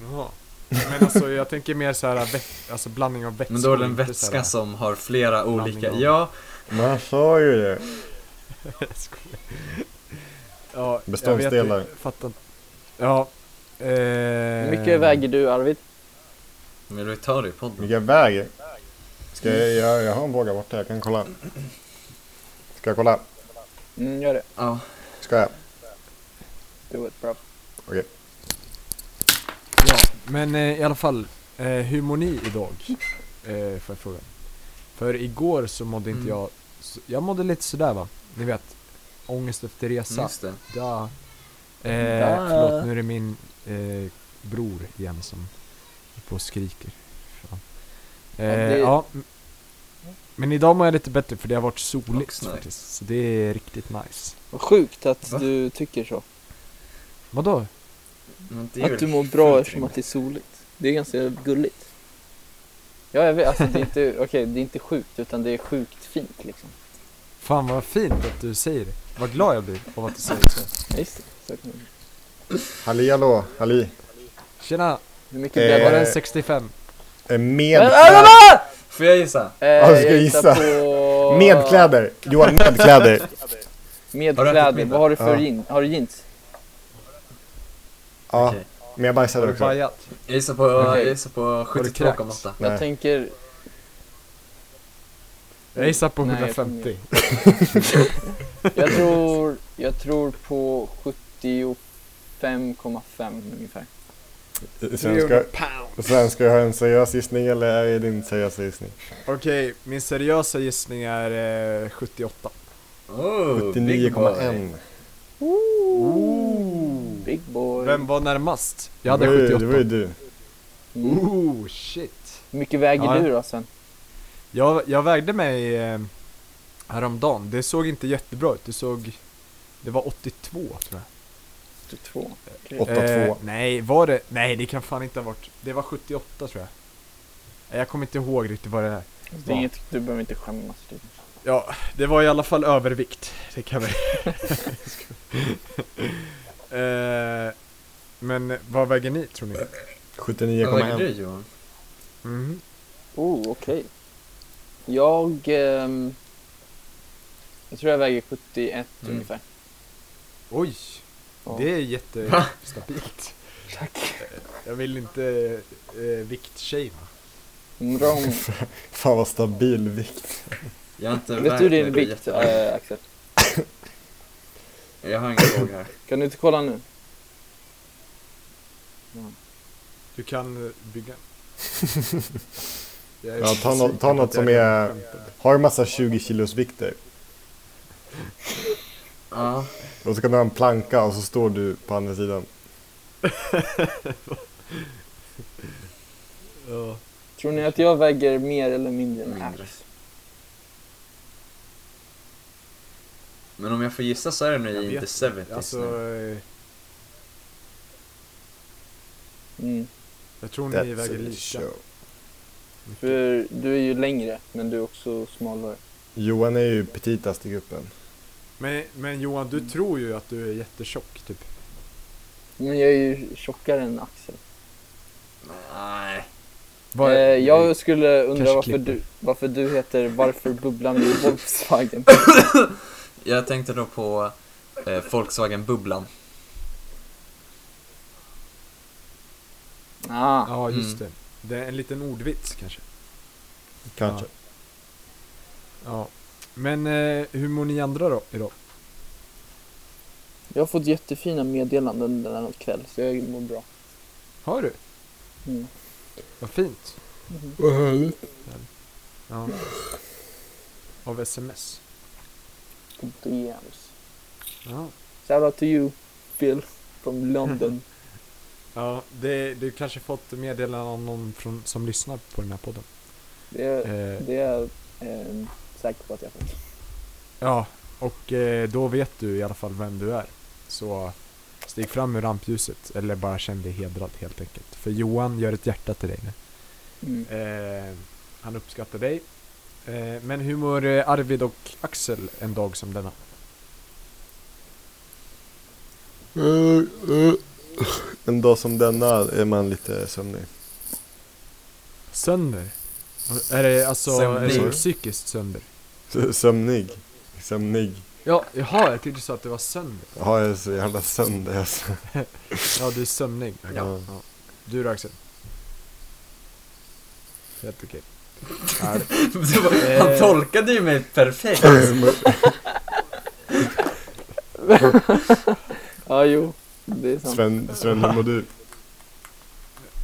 Speaker 1: Jaha. Men alltså jag tänker mer så här, vä- alltså blandning av vätskor.
Speaker 4: Men då är det en
Speaker 1: inte så här-
Speaker 4: vätska som har flera
Speaker 1: Blandning
Speaker 4: olika...
Speaker 1: av-
Speaker 4: Ja,
Speaker 2: Men han sa ju det.
Speaker 1: *laughs* Jag skojar. ja, jag vet
Speaker 2: Beståndsdelar.
Speaker 1: inte, fattar inte. Ja.
Speaker 3: Hur
Speaker 1: Eh,
Speaker 3: mycket väger du Arvid?
Speaker 4: Men du tar det i podden.
Speaker 2: Vilka väger? Ska jag, jag, jag har en våga borta, jag kan kolla. Ska jag kolla?
Speaker 3: Mm, gör det.
Speaker 4: Ja.
Speaker 2: Ska jag?
Speaker 3: Do it bro.
Speaker 1: Ja, men eh, i alla fall. Eh, hur mår ni idag? Eh, får jag fråga. För igår så mådde inte
Speaker 4: Mm.
Speaker 1: jag... s- Jag mådde lite sådär va. Ni vet. Ångest efter resa.
Speaker 4: Just det.
Speaker 1: Da. Eh,
Speaker 3: Da.
Speaker 1: Förlåt, nu är det min eh, bror igen som är på och skriker. Fan. Eh, ja,
Speaker 3: det-
Speaker 1: m- Men idag mår jag lite bättre för det har varit soligt
Speaker 4: Också nice.
Speaker 1: faktiskt. Så det är riktigt nice.
Speaker 3: Vad sjukt att
Speaker 4: Va?
Speaker 3: du tycker så.
Speaker 1: Vadå?
Speaker 4: Men det är
Speaker 3: Att
Speaker 4: väl
Speaker 3: du mår
Speaker 4: fullt
Speaker 3: bra eftersom att
Speaker 4: rimligt.
Speaker 3: det är soligt. Det är ganska gulligt. Ja, jag vet. Alltså, det är inte, okej, det är inte sjukt, utan det är sjukt fint liksom.
Speaker 1: Fan vad fint att du säger det. Vad glad jag blir av att du säger så.
Speaker 3: Ja, just det. Så kan man-
Speaker 2: Halli hallå, halli.
Speaker 1: Tjena,
Speaker 3: Hur mycket
Speaker 2: Eh,
Speaker 1: var
Speaker 3: blev det?
Speaker 1: den 65?
Speaker 2: Eh,
Speaker 3: Men-
Speaker 2: Med,
Speaker 3: äh, äh, äh!
Speaker 4: Får jag gissa?
Speaker 3: Eh,
Speaker 2: Ja, du ska
Speaker 3: jag
Speaker 2: gissa.
Speaker 3: gissar på...
Speaker 2: med kläder! Johan, med kläder!
Speaker 3: Med
Speaker 4: Har du ätit
Speaker 3: kläder.
Speaker 4: middag?
Speaker 3: Vad har du för
Speaker 2: Ja.
Speaker 3: jeans? Har du jeans?
Speaker 2: Ja,
Speaker 4: Okej.
Speaker 2: men jag bajsade
Speaker 1: Har du
Speaker 2: också.
Speaker 1: bajat?
Speaker 4: Jag gissar på,
Speaker 3: Okej.
Speaker 4: jag gissar på
Speaker 1: du
Speaker 4: 72,8.
Speaker 2: Nej.
Speaker 3: Jag tänker...
Speaker 1: Jag gissar på
Speaker 3: Nej, jag
Speaker 1: 150.
Speaker 3: Jag tror... Jag tror på 75,5 ungefär.
Speaker 2: Svenska, svenska, har jag en seriös gissning eller är det din seriösa gissning?
Speaker 1: Okej, min seriösa gissning är eh, 78.
Speaker 4: Oh, big boy.
Speaker 2: 79,1.
Speaker 3: Big boy.
Speaker 1: Vem var närmast? Jag hade
Speaker 2: Det var ju- Det var ju
Speaker 1: 78.
Speaker 2: du.
Speaker 3: Mm.
Speaker 1: Oh shit.
Speaker 3: Hur mycket väger
Speaker 1: Ja.
Speaker 3: du då sen?
Speaker 1: Jag, jag vägde mig eh, häromdagen, det såg inte jättebra ut, det såg... Det var 82 tror jag.
Speaker 3: 82.
Speaker 1: Eh,
Speaker 2: 8,2.
Speaker 1: nej, var det? Nej, det kan fan inte ha varit. Det var 78 tror jag. Nej, Jag kommer inte ihåg riktigt vad det är.
Speaker 3: Det är inget, du behöver inte skämmas. typ. Du.
Speaker 1: Ja, det var i alla fall övervikt. Det kan vi. *laughs* eh, men vad väger ni tror ni?
Speaker 2: 79,1.
Speaker 4: Vad väger du Johan?
Speaker 1: Mhm.
Speaker 3: Oh, okej. Jag... ehm, jag tror jag väger 71
Speaker 4: Mm.
Speaker 3: ungefär.
Speaker 1: Oj,
Speaker 3: Ja.
Speaker 1: det är jättestabilt.
Speaker 3: Tack.
Speaker 1: Jag vill inte eh, viktshamea.
Speaker 4: *laughs*
Speaker 3: Mm, Wrong.
Speaker 2: Fan vad stabil vikt.
Speaker 4: Jag har inte
Speaker 3: Vet du
Speaker 4: vägt
Speaker 3: din
Speaker 4: mig
Speaker 3: vikt,
Speaker 4: jättemycket.
Speaker 3: eh, Axel?
Speaker 4: Jag har ingen fråga här.
Speaker 3: Kan du inte kolla nu?
Speaker 1: Du kan eh, bygga. Jag är
Speaker 2: Ja, ta
Speaker 1: så
Speaker 2: nå-
Speaker 1: säker
Speaker 2: ta
Speaker 1: på
Speaker 2: något
Speaker 1: att jag
Speaker 2: som är-
Speaker 1: kan skämta.
Speaker 2: Har en massa 20 kilos vikter.
Speaker 4: Ja,
Speaker 2: Och så kan du ha en planka och så står du på andra sidan.
Speaker 1: Ja.
Speaker 3: Tror ni att jag väger mer eller mindre än
Speaker 4: Mindre.
Speaker 3: Ax?
Speaker 4: men om jag får gissa så är det nog
Speaker 1: Jag
Speaker 4: i
Speaker 1: vet
Speaker 4: the 70s
Speaker 1: Alltså,
Speaker 4: nu.
Speaker 1: eh,
Speaker 3: Mm.
Speaker 1: jag tror ni
Speaker 2: That's
Speaker 1: väger
Speaker 2: a
Speaker 1: lika.
Speaker 2: show.
Speaker 3: För du är ju längre, men du är också smalare.
Speaker 2: Johan är ju petitast i gruppen.
Speaker 1: Men, men Johan, du tror ju att du är jättetjock typ.
Speaker 3: Men jag är ju tjockare än Axel.
Speaker 4: Nej.
Speaker 1: Vad-
Speaker 3: eh, jag skulle undra
Speaker 1: Kanske
Speaker 3: varför
Speaker 1: klipper.
Speaker 3: du, varför du heter Varför bubblan i
Speaker 1: *laughs*
Speaker 3: Volkswagen?
Speaker 4: Jag tänkte då på eh, Volkswagen Bubblan.
Speaker 3: Ah,
Speaker 1: Ja, just det.
Speaker 4: Mm.
Speaker 1: Det är en liten ordvits kanske.
Speaker 2: Kanske.
Speaker 1: Ja. Men eh, hur mår ni andra då idag?
Speaker 3: jag har fått jättefina meddelanden denna kväll, så jag mår bra.
Speaker 1: Har du?
Speaker 3: Mm.
Speaker 1: Vad fint.
Speaker 2: Vad härligt.
Speaker 1: Ja. Av sms.
Speaker 3: DMs.
Speaker 1: Ja.
Speaker 3: Shout out to you, Phil,
Speaker 1: *laughs*
Speaker 3: from London.
Speaker 1: Ja, det, du kanske fått meddelande av någon från, som lyssnar på den här podden.
Speaker 3: Det är,
Speaker 1: Eh,
Speaker 3: det är eh, säker på att jag fått.
Speaker 1: ja, och eh, då vet du i alla fall vem du är. Så stig fram ur rampljuset, eller bara känn dig hedrad helt enkelt. För Johan gör ett hjärta till dig nu.
Speaker 3: Mm.
Speaker 1: Eh, han uppskattar dig. Eh, men hur mår eh, Arvid och Axel en dag som denna?
Speaker 2: En dag som denna är man lite sömnig.
Speaker 1: Sönder? Är det alltså är
Speaker 4: Sömnig.
Speaker 1: det psykiskt sönder?
Speaker 2: S- Sömnig. Sömnig.
Speaker 1: Ja, jaha, jag tyckte du sa att det var sönder.
Speaker 2: Ja, jag är så jävla sönder alltså.
Speaker 1: Ja, det är sömning.
Speaker 4: Ja.
Speaker 1: Du då Axel? Helt okej. Ja, det-
Speaker 4: *laughs* Det var- Han
Speaker 1: Eh.
Speaker 4: tolkade ju mig
Speaker 2: *laughs*
Speaker 4: perfekt.
Speaker 3: Ja, jo. Det är *laughs* sant.
Speaker 2: Sven, Sven, hur mår du?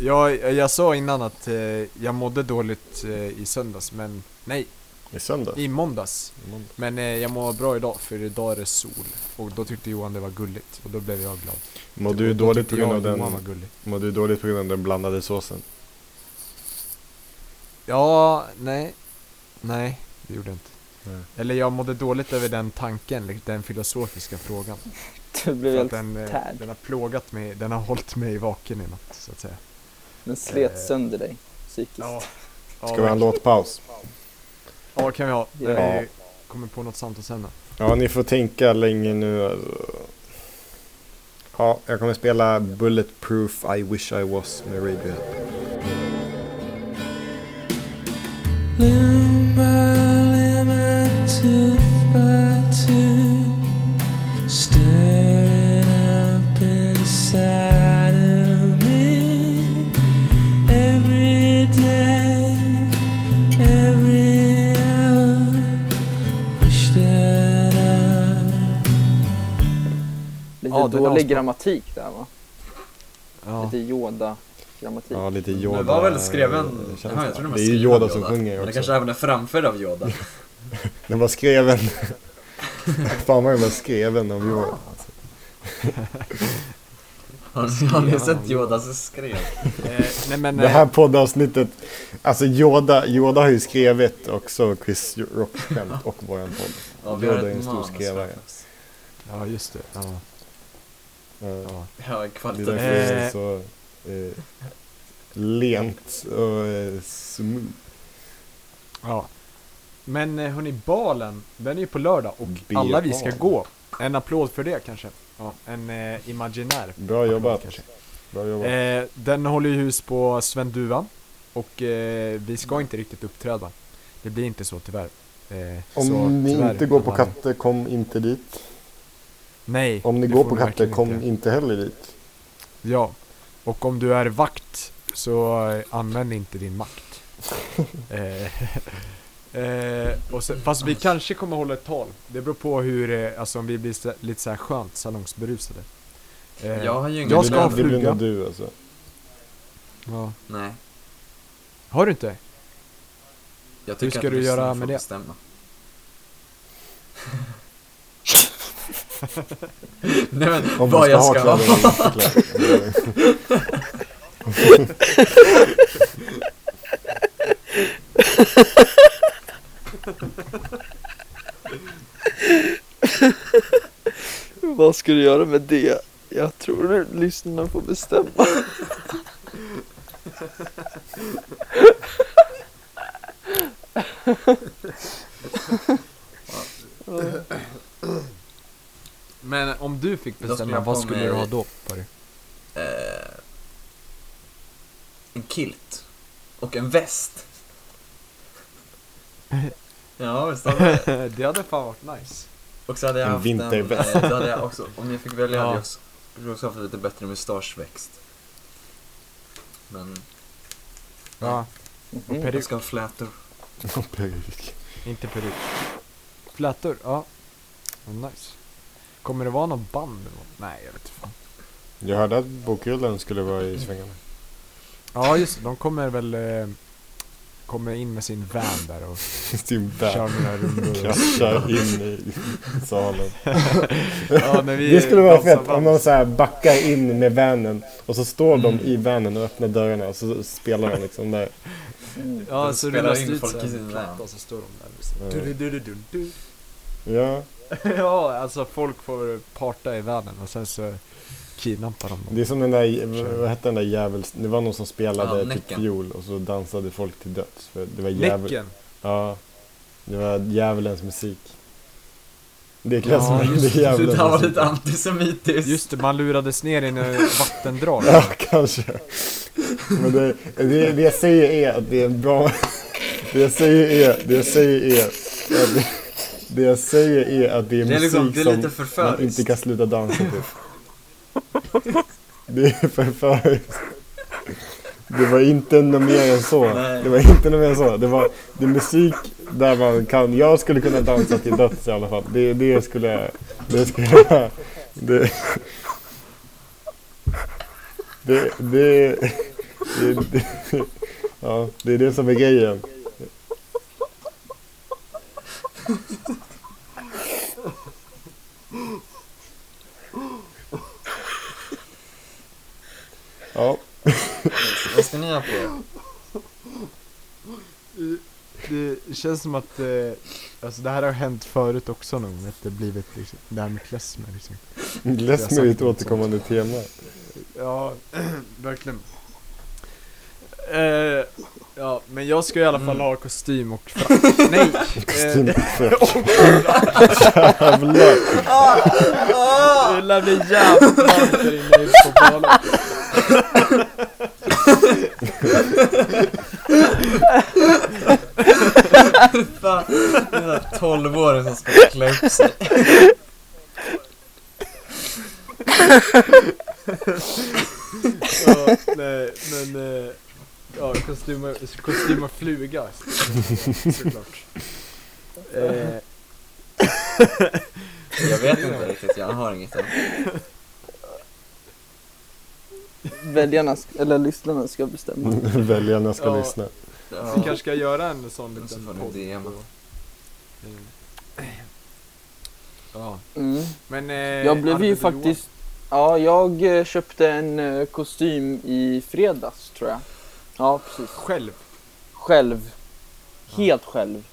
Speaker 1: Jag, jag sa innan att eh, jag mådde dåligt eh, i söndags, men nej,
Speaker 2: I söndag?
Speaker 1: i måndags. Men eh, jag mår bra idag för idag är det sol. Och då tyckte Johan det var gulligt och då blev jag glad.
Speaker 2: Mår du
Speaker 1: Och då
Speaker 2: dåligt
Speaker 1: tyckte
Speaker 2: på grund
Speaker 1: jag
Speaker 2: av
Speaker 1: Johan var
Speaker 2: den,
Speaker 1: gullig.
Speaker 2: mår du dåligt på grund av den blandade såsen?
Speaker 1: Ja, nej. Nej, det gjorde jag inte.
Speaker 2: Nej.
Speaker 1: Eller jag mådde dåligt över den tanken, den filosofiska frågan.
Speaker 3: Du blev
Speaker 1: För att
Speaker 3: helt
Speaker 1: den, eh,
Speaker 3: tärd.
Speaker 1: den har plågat mig, den har hållit mig vaken i natt så att säga.
Speaker 3: Den slet
Speaker 1: eh,
Speaker 3: sönder dig psykiskt.
Speaker 1: ja,
Speaker 2: Ska vi ha en låtpaus?
Speaker 1: ja kan vi ha. När
Speaker 2: Ja.
Speaker 1: vi kommer på något samtalsämne.
Speaker 2: Ja, ni får tänka länge nu alltså. Ja, jag kommer spela Bulletproof I wish I was med Radiohead.
Speaker 3: Lite
Speaker 1: ja, den är
Speaker 3: dålig
Speaker 1: asbra.
Speaker 3: grammatik där va?
Speaker 1: Ja.
Speaker 3: Lite Yoda-grammatik.
Speaker 2: Ja, lite Yoda.
Speaker 4: Men var väl skriven...
Speaker 2: känsla.
Speaker 4: Jaha, jag trodde man
Speaker 2: det är ju
Speaker 4: skrev
Speaker 2: Yoda
Speaker 4: av
Speaker 2: som sjunger
Speaker 4: Men det
Speaker 2: också.
Speaker 4: kanske även är framförd av
Speaker 2: *laughs*
Speaker 4: Yoda.
Speaker 2: Den var
Speaker 4: *laughs*
Speaker 2: skreven. Fan vad den var skreven av Yoda.
Speaker 4: Har ni, har ni sett Yoda som skrev?
Speaker 1: Eh, nej men,
Speaker 2: Det
Speaker 1: eh,
Speaker 2: här poddavsnittet. Alltså Yoda, Yoda har ju skrivit också Chris
Speaker 1: *laughs*
Speaker 2: Rock-skämt och våran podd.
Speaker 4: Ja, vi har
Speaker 2: Yoda är en
Speaker 4: ett
Speaker 2: stor
Speaker 4: manus
Speaker 2: skrivare.
Speaker 4: framför oss.
Speaker 1: ja just det. Ja.
Speaker 2: Eh,
Speaker 1: Ja.
Speaker 4: Ja,
Speaker 2: Det
Speaker 4: en
Speaker 2: är
Speaker 4: kvalitativ.
Speaker 2: därför det är så eh, lent och eh, smooth.
Speaker 1: ja. Men eh, hörni, balen, den är ju på lördag och
Speaker 2: Be
Speaker 1: alla vi ska
Speaker 2: balen.
Speaker 1: gå. En applåd för det kanske. Ja, en eh, imaginär.
Speaker 2: Bra jobbat.
Speaker 1: kanske.
Speaker 2: Bra jobbat.
Speaker 1: Eh, den håller ju hus på Sven Duva och eh, vi ska inte riktigt uppträda. Det blir inte så tyvärr. Eh, så,
Speaker 2: Om ni
Speaker 1: tyvärr,
Speaker 2: inte går på
Speaker 1: alla-
Speaker 2: katter, kom inte dit.
Speaker 1: Nej.
Speaker 2: Om ni
Speaker 1: det
Speaker 2: går
Speaker 1: får
Speaker 2: på
Speaker 1: ni
Speaker 2: katter,
Speaker 1: verkligen
Speaker 2: kom
Speaker 1: inte.
Speaker 2: inte heller dit.
Speaker 1: Ja. Och om du är vakt så eh, använd inte din
Speaker 2: *laughs*
Speaker 1: makt. eh, eh, och sen, fast vi kanske kommer hålla ett tal. Det beror på hur, eh, alltså om vi blir så, lite så här skönt salongsberusade. Eh,
Speaker 4: Jag har ju ingen
Speaker 1: Jag ska ha
Speaker 2: det, blir- det blir
Speaker 1: fluga.
Speaker 2: nog du alltså.
Speaker 1: ja.
Speaker 4: Nej,
Speaker 1: Har du inte?
Speaker 4: jag tycker
Speaker 1: Hur ska
Speaker 4: att
Speaker 1: du
Speaker 4: lyssnarna
Speaker 1: göra
Speaker 4: får
Speaker 1: med det? *laughs*
Speaker 4: Bestämma. *laughs* Nej men,
Speaker 2: Om
Speaker 4: vad
Speaker 2: man
Speaker 4: jag
Speaker 2: ska
Speaker 4: ska
Speaker 2: ha
Speaker 4: ha.
Speaker 2: kläder eller inte
Speaker 1: *laughs*
Speaker 2: kläder.
Speaker 3: Vad ska du göra med det? Jag tror lyssnarna får bestämma.
Speaker 1: Men om du fick
Speaker 4: Då skulle
Speaker 1: bestämma,
Speaker 4: jag
Speaker 1: vad
Speaker 4: ha
Speaker 1: skulle
Speaker 4: mig-
Speaker 1: du ha då? på dig?
Speaker 4: Eh, en kilt. Och en väst. Ja, visst hade jag.
Speaker 1: *laughs* det hade fan varit nice.
Speaker 4: Och så hade jag
Speaker 2: En
Speaker 4: haft
Speaker 2: vinterväst.
Speaker 4: En, eh, då hade jag också, om jag fick välja hade
Speaker 1: Ja.
Speaker 4: jag också, jag också haft lite bättre mustaschväxt. Men,
Speaker 1: Ja, och
Speaker 4: jag
Speaker 1: peruk,
Speaker 4: ska ha flätor.
Speaker 2: Peruk.
Speaker 1: inte peruk. Flätor, ja. Oh, nice. Kommer det vara någon band? eller något? Nej, jag vet inte fan.
Speaker 2: Jag hörde att bokhyllan skulle vara i svängarna. *laughs*
Speaker 1: Ja, just det, De kommer väl... Eh, kommer in med sin van där och
Speaker 2: Sin
Speaker 1: kör
Speaker 2: bär
Speaker 1: några
Speaker 4: Mm.
Speaker 1: rundor.
Speaker 2: kraschar in i salen.
Speaker 1: ja, när vi
Speaker 2: Det skulle vara
Speaker 1: dansar
Speaker 2: fett om de
Speaker 1: vals.
Speaker 2: så här backar in med vanen och så står de i vanen och öppnar dörrarna och så spelar de liksom där.
Speaker 1: Ja,
Speaker 4: de
Speaker 1: så
Speaker 4: spelar
Speaker 1: rullas
Speaker 4: in
Speaker 1: det ut
Speaker 4: folk
Speaker 1: så
Speaker 4: i
Speaker 1: här
Speaker 4: sin
Speaker 1: en platta
Speaker 4: van.
Speaker 1: och så står de där.
Speaker 2: Ja.
Speaker 1: och så- Du, du, du, du, du, du.
Speaker 2: Ja,
Speaker 1: Ja, alltså folk får parta i världen och sen så kidnappar de dem.
Speaker 2: det är som den där, vad hette den där djävuls... Det var någon som
Speaker 4: Ja,
Speaker 2: spelade typ
Speaker 4: Näcken.
Speaker 2: fiol och så dansade folk till döds. För det var djävul,
Speaker 1: Näcken!
Speaker 2: Ja, det var djävulens musik. Det kallas
Speaker 1: Ja,
Speaker 2: för-
Speaker 1: just
Speaker 2: det är
Speaker 4: Så det
Speaker 2: djävulens
Speaker 4: där var
Speaker 2: musik.
Speaker 4: lite antisemitiskt.
Speaker 1: Just det, man lurades ner i en vattendrag.
Speaker 2: Ja, kanske. Men det, det, det jag säger är att det är en bra... Det jag säger är, det jag säger är att det, Det jag säger är att det är
Speaker 4: Det är
Speaker 2: musik
Speaker 4: liksom- det är lite
Speaker 2: som man
Speaker 4: förföriskt.
Speaker 2: inte kan sluta dansa till. Det är förföriskt. Det var inte något mer än så.
Speaker 4: Nej.
Speaker 2: Det var inte något mer än så. Det var det är musik där man kan, jag skulle kunna dansa till döds i alla fall. Det, det skulle jag, det skulle jag, det, det, det, det, det, ja, det är det som är grejen. Ja,
Speaker 4: Vad ska ni ha på?
Speaker 1: Det känns som att eh, alltså det här har hänt förut också någon gång, att det blivit liksom, det här med klezmer liksom.
Speaker 2: Glesmer är ett återkommande tema.
Speaker 1: Ja, *clears throat* verkligen. Eh, ja, men jag ska i alla fall ha kostym *laughs* och frack. Nej!
Speaker 2: Kostym
Speaker 1: Eh,
Speaker 2: och frack. Jävlar.
Speaker 1: det lär bli jävligt varmt där inne i pokalen.
Speaker 4: Fan, det är där 12-åring som ska klä upp sig.
Speaker 1: Ja, nej, men eh, ja, kostym och, kostym och fluga *laughs* såklart. Eh,
Speaker 4: Jag vet inte riktigt, jag har inget än.
Speaker 3: Väljarna, sk- eller lyssnarna ska
Speaker 1: Mm.
Speaker 3: bestämma.
Speaker 2: Väljarna ska
Speaker 1: Ja.
Speaker 2: lyssna.
Speaker 1: vi
Speaker 4: Ja.
Speaker 1: kanske ska göra en sån
Speaker 4: Och så
Speaker 1: liten
Speaker 4: får ni
Speaker 1: podd.
Speaker 4: DM.
Speaker 1: då. Mm. Ja,
Speaker 3: Mm.
Speaker 1: men... Eh,
Speaker 3: Jag blev ju
Speaker 1: Arvid och Johan,
Speaker 3: faktiskt... Ja, jag eh, köpte en eh, kostym i fredags tror jag. Ja, precis.
Speaker 1: Själv.
Speaker 3: Själv. Helt själv.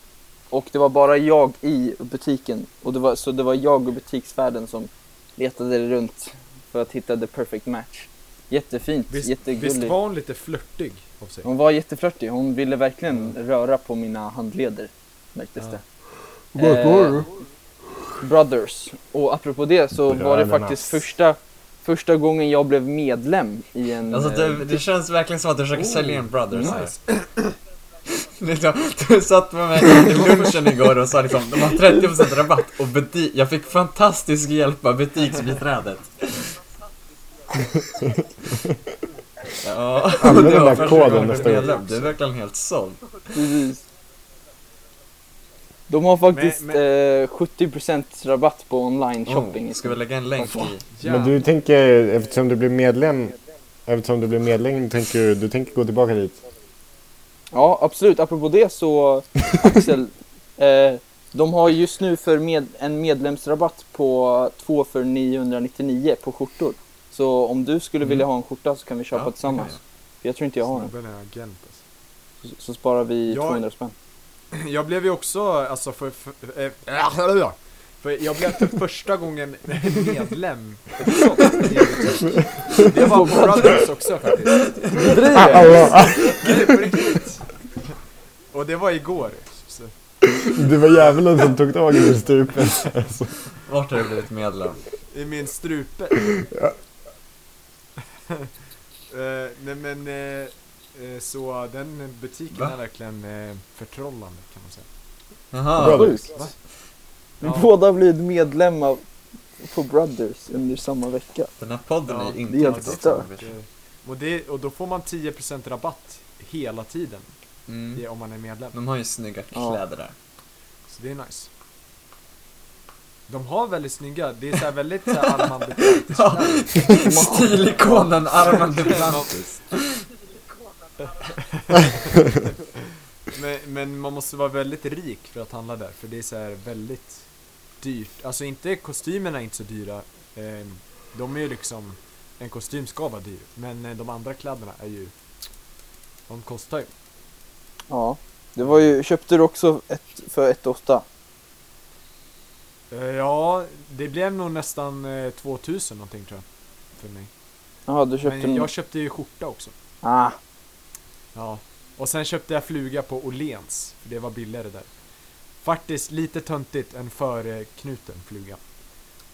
Speaker 3: Och det var bara jag i butiken. Och det var, så det var jag och butiksvärden som letade runt för att hitta the perfect match. Jättefint,
Speaker 1: Visst,
Speaker 3: jättegulligt.
Speaker 1: visst var hon lite flörtig av sig?
Speaker 3: Hon var jätteflörtig. Hon ville verkligen röra på mina handleder. Märktes
Speaker 1: Ja.
Speaker 3: det. Eh, Brothers. Och apropå det så var det
Speaker 2: Brödernas.
Speaker 3: faktiskt första, första gången jag blev medlem i en...
Speaker 4: Alltså
Speaker 3: eh,
Speaker 4: det, det känns verkligen som att du försöker sälja in Brothers här. *laughs* Liksom, du satt med mig i lunchen igår och sa liksom, de har 30% rabatt och buti- jag fick fantastisk hjälp av butiksbiträdet. Ja, och
Speaker 2: Använd
Speaker 4: det
Speaker 2: den
Speaker 4: var
Speaker 2: där
Speaker 4: första
Speaker 2: koden
Speaker 4: gången
Speaker 2: nästa
Speaker 4: du
Speaker 2: gång.
Speaker 4: medlem. Du är verkligen helt såld.
Speaker 3: Precis. De har faktiskt
Speaker 1: Men-
Speaker 3: Eh, 70% rabatt på online shopping.
Speaker 4: Oh, ska vi lägga en länk i?
Speaker 2: Men du tänker, eftersom du blir medlem, eftersom du blir medlem, tänker du, du tänker gå tillbaka dit?
Speaker 3: Ja, absolut. Apropå
Speaker 4: *laughs*
Speaker 3: det så, Axel, eh, de har just nu för med, en medlemsrabatt på två för 999 på skjortor. Så om du skulle vilja ha en skjorta så kan vi köpa
Speaker 4: Mm. Ja, det
Speaker 3: tillsammans.
Speaker 4: kan
Speaker 3: För jag tror inte jag har en.
Speaker 1: Snubben är agent alltså.
Speaker 3: Så, så sparar vi
Speaker 1: Jag-
Speaker 3: 200 spänn.
Speaker 1: Jag blev ju också, alltså för, för, eh, äh, för jag blev för första gången medlem också i en butik. Det var på Brothers också faktiskt.
Speaker 2: *laughs*
Speaker 1: Nej, på riktigt. Och det var igår. Så.
Speaker 2: Det var djävulen som tog tag i din strupe.
Speaker 4: Vart har du blivit medlem?
Speaker 1: I min strupe. *laughs* Eh, nej men, eh, eh, så den butiken
Speaker 4: Va?
Speaker 1: är verkligen eh, förtrollande kan man säga.
Speaker 4: Jaha,
Speaker 2: Brothers.
Speaker 3: Sjukt.
Speaker 1: Va?
Speaker 3: Vi
Speaker 1: Ja.
Speaker 3: båda har blivit medlemmar på Brothers under samma vecka.
Speaker 4: den här podden
Speaker 1: Ja,
Speaker 4: är inte
Speaker 3: det är helt
Speaker 4: riktigt
Speaker 3: stört.
Speaker 4: som vi-
Speaker 1: Eh, Och, det, och då får man 10% rabatt hela tiden
Speaker 4: Mm.
Speaker 1: eh, om man är medlem.
Speaker 4: De har ju snygga
Speaker 3: Ja.
Speaker 4: kläder där.
Speaker 1: Så det är nice. De har väldigt snygga, det är såhär väldigt såhär Armand Duplantis
Speaker 4: *laughs* Ja. *laughs* Stilikonen Armand Duplantis.
Speaker 1: men, men man måste vara väldigt rik för att handla där, för det är såhär väldigt dyrt. Alltså inte, kostymerna är inte så dyra. Eh, de är ju liksom, en kostym ska vara dyr. Men eh, de andra kläderna är ju, de kostar ju.
Speaker 3: Ja. Det var ju, köpte du också ett, för 1 8
Speaker 1: Eh, ja, det blev nog nästan eh, 2000 någonting tror jag. För mig.
Speaker 3: Jaha, du köpte
Speaker 1: Men
Speaker 3: en...
Speaker 1: jag köpte ju skjorta också.
Speaker 3: Ah,
Speaker 1: Ja. Och sen köpte jag fluga på Åhléns, för det var billigare där. Faktiskt lite töntigt en föreknuten fluga.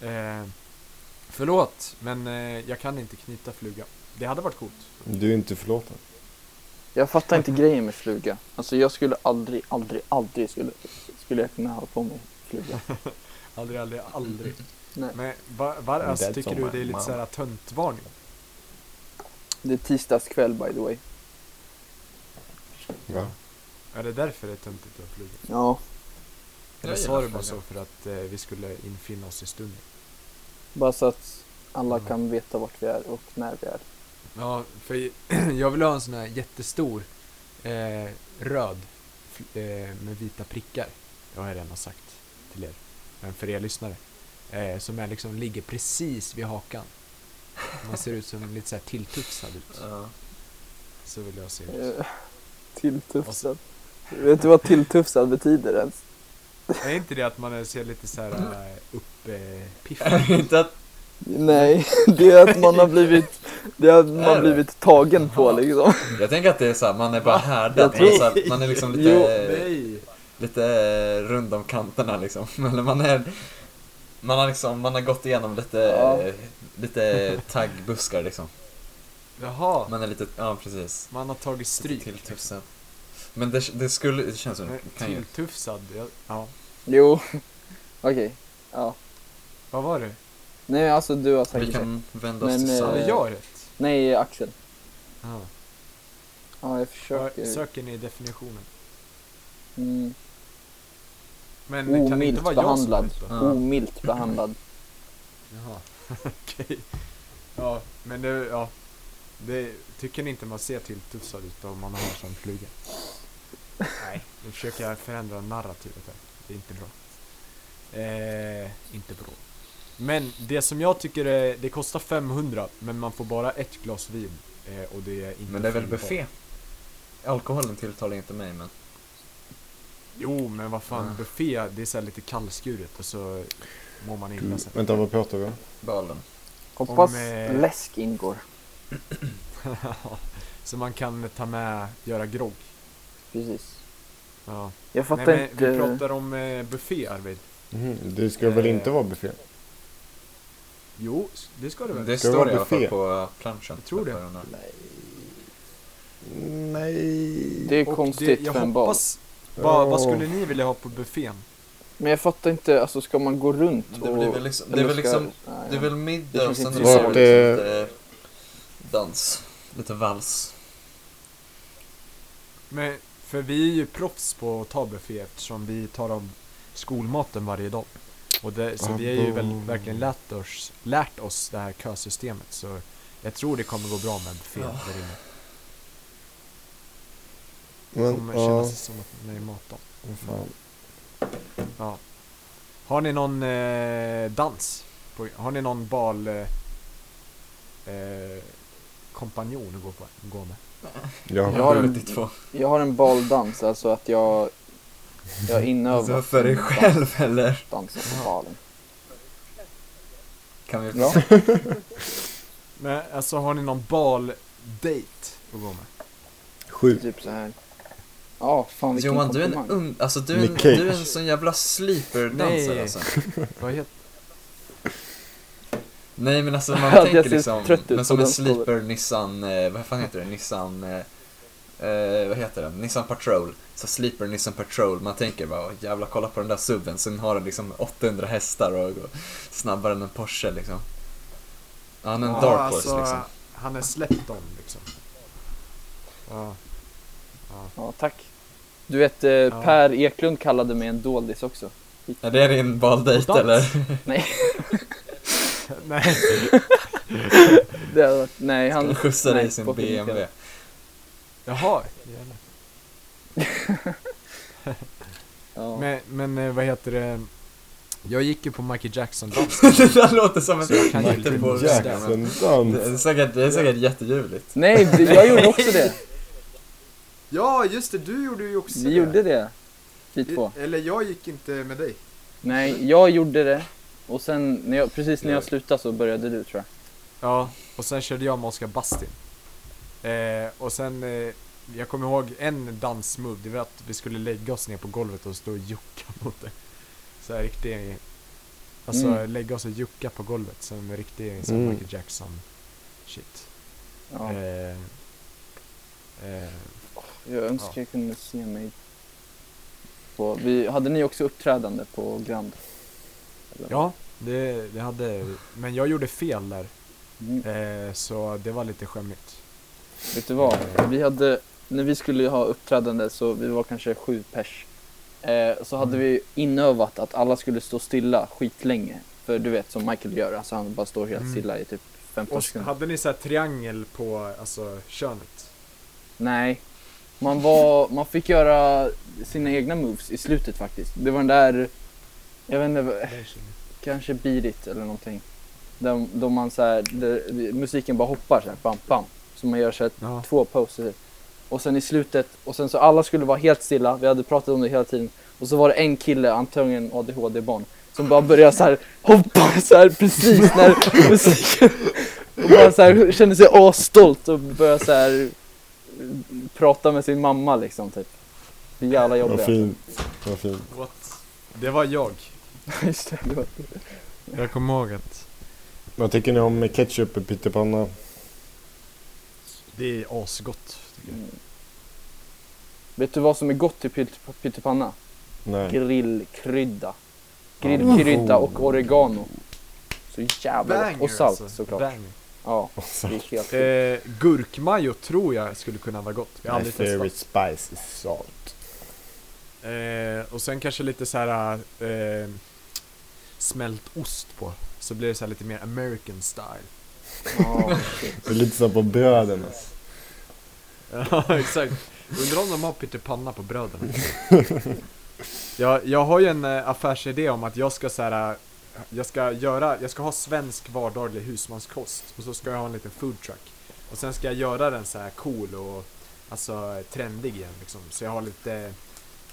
Speaker 1: Eh, förlåt, men eh, jag kan inte knyta fluga. Det hade varit coolt.
Speaker 2: Du är inte förlåten.
Speaker 3: jag fattar inte grejen med fluga. Alltså jag skulle aldrig, aldrig, aldrig skulle, skulle jag kunna ha på mig
Speaker 1: *laughs*
Speaker 3: fluga.
Speaker 1: Aldrig, aldrig, aldrig.
Speaker 3: Nej.
Speaker 1: Men var, var,
Speaker 2: I'm
Speaker 1: alltså,
Speaker 2: dead
Speaker 1: tycker
Speaker 2: to
Speaker 1: du
Speaker 2: my
Speaker 1: det är lite
Speaker 2: mom.
Speaker 1: såhär töntvarning?
Speaker 3: Det är tisdagskväll by the way.
Speaker 2: Va?
Speaker 1: Är det därför det är töntigt att flyga?
Speaker 3: Ja,
Speaker 1: Eller
Speaker 4: Jag
Speaker 1: sa
Speaker 4: gillar
Speaker 1: du bara så
Speaker 4: flyga.
Speaker 1: för att eh, vi skulle infinna oss i stunden?
Speaker 3: bara så att alla
Speaker 1: Mm.
Speaker 3: kan veta vart vi är och när vi är.
Speaker 1: Ja, för *clears throat* jag vill ha en sån här jättestor eh, röd fl- eh, med vita prickar. Det har jag redan sagt till er. Men för er lyssnare. Eh, som är liksom ligger precis vid hakan. Man ser ut som lite så här tilltufsad ut.
Speaker 4: Ja.
Speaker 1: Så vill jag se ut.
Speaker 3: Eh, *laughs* Tilltufsad. Vet du vad tilltufsad betyder ens?
Speaker 1: Är inte det att man ser lite så här eh, uppiffad?
Speaker 3: *laughs*
Speaker 4: Är det inte att...
Speaker 3: Nej, *laughs* det är att man har blivit, det är att man
Speaker 4: Är det?
Speaker 3: har blivit tagen på liksom.
Speaker 4: Jag tänker att det är såhär, man är bara härdad.
Speaker 3: Jag
Speaker 4: Man är,
Speaker 3: tror-
Speaker 4: så här, man är liksom lite,
Speaker 3: Jo,
Speaker 1: Nej!
Speaker 4: lite rund om kanterna liksom. *laughs* Eller man är... Man har liksom, man har gått igenom lite,
Speaker 3: Ja.
Speaker 4: lite taggbuskar liksom.
Speaker 1: Jaha,
Speaker 4: Man är lite, ja precis.
Speaker 1: man har tagit stryk.
Speaker 4: Till
Speaker 3: liksom.
Speaker 4: tusen. Men det, det skulle, det känns som det
Speaker 1: Nej,
Speaker 4: kan ju.
Speaker 1: Tilltufsad? Ja, ja.
Speaker 3: Jo, *laughs* okej. Ja.
Speaker 1: Vad var det?
Speaker 3: Nej alltså du har
Speaker 4: Vi
Speaker 3: säkert rätt.
Speaker 4: kan vända oss
Speaker 3: Men,
Speaker 4: till
Speaker 3: eh,
Speaker 1: Hade
Speaker 4: Sally.
Speaker 1: jag rätt?
Speaker 3: Nej Axel.
Speaker 1: Ja.
Speaker 3: Ja, jag
Speaker 1: Var-
Speaker 3: försöker.
Speaker 1: Söker ni definitionen?
Speaker 3: Mm.
Speaker 1: Men
Speaker 3: Omilt
Speaker 1: kan det inte vara
Speaker 3: behandlad.
Speaker 1: jag som har rätt då?
Speaker 4: Ja. *laughs*
Speaker 3: Omilt behandlad.
Speaker 1: Jaha, *laughs* okej. Ja, men det, ja. Det tycker ni inte man ser tilltufsad ut om man har som fluga? Nej, nu försöker jag förändra narrativet här. Det är inte bra. Eh, inte bra. Men det som jag tycker är, det kostar 500 men man får bara ett glas vin. Eh, och det är inte
Speaker 4: Men det är väl
Speaker 1: fyllbart.
Speaker 4: buffé? Alkoholen tilltalar inte mig men.
Speaker 1: Jo, men vad fan
Speaker 4: Ah.
Speaker 1: buffé, det är så här lite kallskuret och så mår man illa sen.
Speaker 2: Vänta, vad pratar vi om?
Speaker 4: Balen.
Speaker 3: Hoppas
Speaker 1: eh,
Speaker 3: läsk ingår.
Speaker 1: *laughs* så man kan ta med, göra grogg.
Speaker 3: Precis.
Speaker 1: Ja.
Speaker 3: Jag fattar
Speaker 1: Nej, men
Speaker 3: inte.
Speaker 1: vi pratar om eh, buffé Arvid.
Speaker 2: Mhm, Det ska väl
Speaker 1: Eh,
Speaker 2: inte vara buffé?
Speaker 1: Jo, s- det ska det väl?
Speaker 4: Det
Speaker 2: Ska det
Speaker 4: står
Speaker 2: vara
Speaker 4: i alla fall
Speaker 2: buffé?
Speaker 4: på eh, planschen.
Speaker 1: Jag tror det.
Speaker 4: På den här.
Speaker 2: Nej.
Speaker 3: Det är
Speaker 1: Och
Speaker 3: konstigt
Speaker 1: det- jag
Speaker 3: för en barn.
Speaker 1: hoppas- Vad, vad
Speaker 2: Ja.
Speaker 1: skulle ni vilja ha på buffén?
Speaker 3: Men jag fattar inte, alltså ska man gå runt
Speaker 4: Men
Speaker 3: och...
Speaker 4: Det blir väl liksom, det är väl
Speaker 3: eller ska-
Speaker 4: liksom,
Speaker 3: Nej,
Speaker 4: det är väl middag och
Speaker 3: känns
Speaker 4: sen
Speaker 3: inte
Speaker 4: är det så
Speaker 2: Vart, eh,
Speaker 4: här lite dans, lite vals.
Speaker 1: Men, för vi är ju proffs på att ta buffé eftersom vi tar av skolmaten varje dag. Och det, så vi har ju väl
Speaker 2: Abo.
Speaker 1: verkligen lärt oss, lärt oss det här kösystemet så jag tror det kommer gå bra med buffén
Speaker 4: Ja.
Speaker 1: där inne. Det
Speaker 2: Men,
Speaker 1: kommer
Speaker 2: ja,
Speaker 1: kännas som att man är i matdag.
Speaker 2: vad fan.
Speaker 1: Ja. Har ni någon eh, dans? På, har ni någon bal... Eh, eh, kompanjon att gå, på, gå med?
Speaker 2: Jag
Speaker 4: Jag har
Speaker 3: har en-
Speaker 4: ditt två.
Speaker 3: Jag har en baldans, alltså att jag...
Speaker 4: *laughs*
Speaker 3: Jag
Speaker 4: Så
Speaker 3: inövar
Speaker 4: för dig själv eller?
Speaker 3: dansen på balen.
Speaker 4: Kan vi
Speaker 3: Ja.
Speaker 1: Men alltså har ni någon bal-date att gå med?
Speaker 2: Sju.
Speaker 3: Typ så här. Ja, fan vilken
Speaker 4: Johan, du är en
Speaker 3: komplimang.
Speaker 4: ung, alltså du är en,
Speaker 2: Nick Cage.
Speaker 4: du är en sån jävla sleeper-dansare
Speaker 1: Nej.
Speaker 4: alltså.
Speaker 1: Vad heter
Speaker 4: Nej men alltså man
Speaker 3: *laughs* Ja, jag
Speaker 4: tänker
Speaker 3: ser
Speaker 4: liksom,
Speaker 3: trött ut
Speaker 4: men
Speaker 3: på
Speaker 4: som en
Speaker 3: den stolen.
Speaker 4: sleeper Nissan, eh, vad fan heter det, Nissan, eh, eh, vad heter den, Nissan Patrol. Så sleeper Nissan Patrol, man tänker bara "Åh, jävla kolla på den där subben, sen har den liksom 800 hästar och går snabbare än en Porsche liksom. Ja, Han är en
Speaker 1: Ja,
Speaker 4: dark horse
Speaker 1: alltså,
Speaker 4: liksom.
Speaker 1: Han är släppt om liksom. Ja. *laughs*
Speaker 3: Ja, tack. Du vet, eh, Per Eklund kallade mig en doldis också.
Speaker 4: Är det din baldejt
Speaker 1: Och dans.
Speaker 4: eller?
Speaker 1: Nej,
Speaker 3: Det hade varit, nej, han...
Speaker 4: Han *laughs* skjutsar dig i
Speaker 3: nej,
Speaker 4: sin
Speaker 3: fucking inte.
Speaker 4: BMW.
Speaker 1: jaha.
Speaker 3: Ja.
Speaker 1: Men, men eh, vad heter det? Jag gick ju på Michael Jackson dans.
Speaker 4: *laughs* det där låter som en
Speaker 1: Så jag kan ju
Speaker 4: liten
Speaker 1: inte
Speaker 4: Porsche.
Speaker 1: Jackson.
Speaker 4: Det är
Speaker 2: Jackson-dans.
Speaker 4: säkert, det är säkert jätteljuvligt.
Speaker 3: Nej, det- jag gjorde också det.
Speaker 1: Ja, just det. Du gjorde ju också *laughs*
Speaker 3: Vi gjorde det. Vi två.
Speaker 1: Eller jag gick inte med dig.
Speaker 3: Nej, jag gjorde det. Och sen, när jag, precis när jag slutade så började du tror jag.
Speaker 1: Ja, och sen körde jag med Oscar Bastin. Eh, och sen, eh, jag kommer ihåg en dansmove, det var att vi skulle lägga oss ner på golvet och stå och jucka *laughs* mot det. Så här riktig, alltså
Speaker 3: Mm.
Speaker 1: lägga oss och jucka på golvet som riktig som
Speaker 2: Mm.
Speaker 1: Michael Jackson shit.
Speaker 3: Ja,
Speaker 1: Eh, eh,
Speaker 3: jag önskar
Speaker 1: ja.
Speaker 3: jag kunde se mig på. Vi, hade ni också uppträdande på Grand?
Speaker 1: Ja, det, det hade Men jag gjorde fel där.
Speaker 3: Mm.
Speaker 1: Eh, så det var lite skämmigt.
Speaker 3: Vet du vad? Vi hade, när vi skulle ha uppträdande så vi var kanske sju pers. Eh, så hade
Speaker 1: Mm.
Speaker 3: vi inövat att alla skulle stå stilla skitlänge. För du vet som Michael gör, alltså han bara står helt
Speaker 1: Mm.
Speaker 3: stilla i typ 15
Speaker 1: Och
Speaker 3: sekunder.
Speaker 1: hade ni så här triangel på alltså, könet?
Speaker 3: Nej. Man, var, man fick göra sina egna moves i slutet faktiskt. Det var den där, jag vet inte, kanske Beat It eller någonting. Där, då man så här, där, musiken bara hoppar så här, bam, bam. Så man gör så här
Speaker 1: Ja.
Speaker 3: två poser. Och sen i slutet, och sen så alla skulle vara helt stilla, vi hade pratat om det hela tiden. Och så var det en kille, antagligen ADHD-barn, som bara började så här hoppa så här
Speaker 2: *laughs*
Speaker 3: precis när musiken... Och bara så här kände sig asstolt och började så här eh, prata med sin mamma liksom typ. Så Jävla
Speaker 2: Vad
Speaker 3: jobbiga.
Speaker 2: fint. Vad fint.
Speaker 1: What? Det var jag.
Speaker 3: *laughs* Just det, det var-
Speaker 1: Jag kommer ihåg att
Speaker 2: Vad tycker ni om ketchup i pyttipanna?
Speaker 1: det är asgott. tycker jag.
Speaker 3: Vet du vad som är gott i pytt- pyttipanna?
Speaker 2: Nej. Oh.
Speaker 3: Grillkrydda. Grillkrydda och oregano. Så jävla gott. Och salt
Speaker 1: alltså.
Speaker 3: såklart.
Speaker 1: Banger.
Speaker 3: Ja, det är helt sjukt.
Speaker 1: Eh, gurkmajo tror jag skulle kunna vara gott. Jag har
Speaker 2: My
Speaker 1: aldrig
Speaker 2: favorite
Speaker 1: testat.
Speaker 2: spice is salt.
Speaker 1: Eh, och sen kanske lite så här eh, smält ost på. Så blir det så här lite mer American style.
Speaker 3: Ja, shit.
Speaker 2: Det är lite så på bröden alltså.
Speaker 1: Ja, *laughs* exakt. Undrar om de har pyttipanna på bröden. jag, jag har ju en eh, affärsidé om att jag ska så här, eh, jag ska göra, jag ska ha svensk vardaglig husmanskost och så ska jag ha en liten foodtruck. Och sen ska jag göra den så här cool och alltså eh, trendig igen liksom. Så jag har lite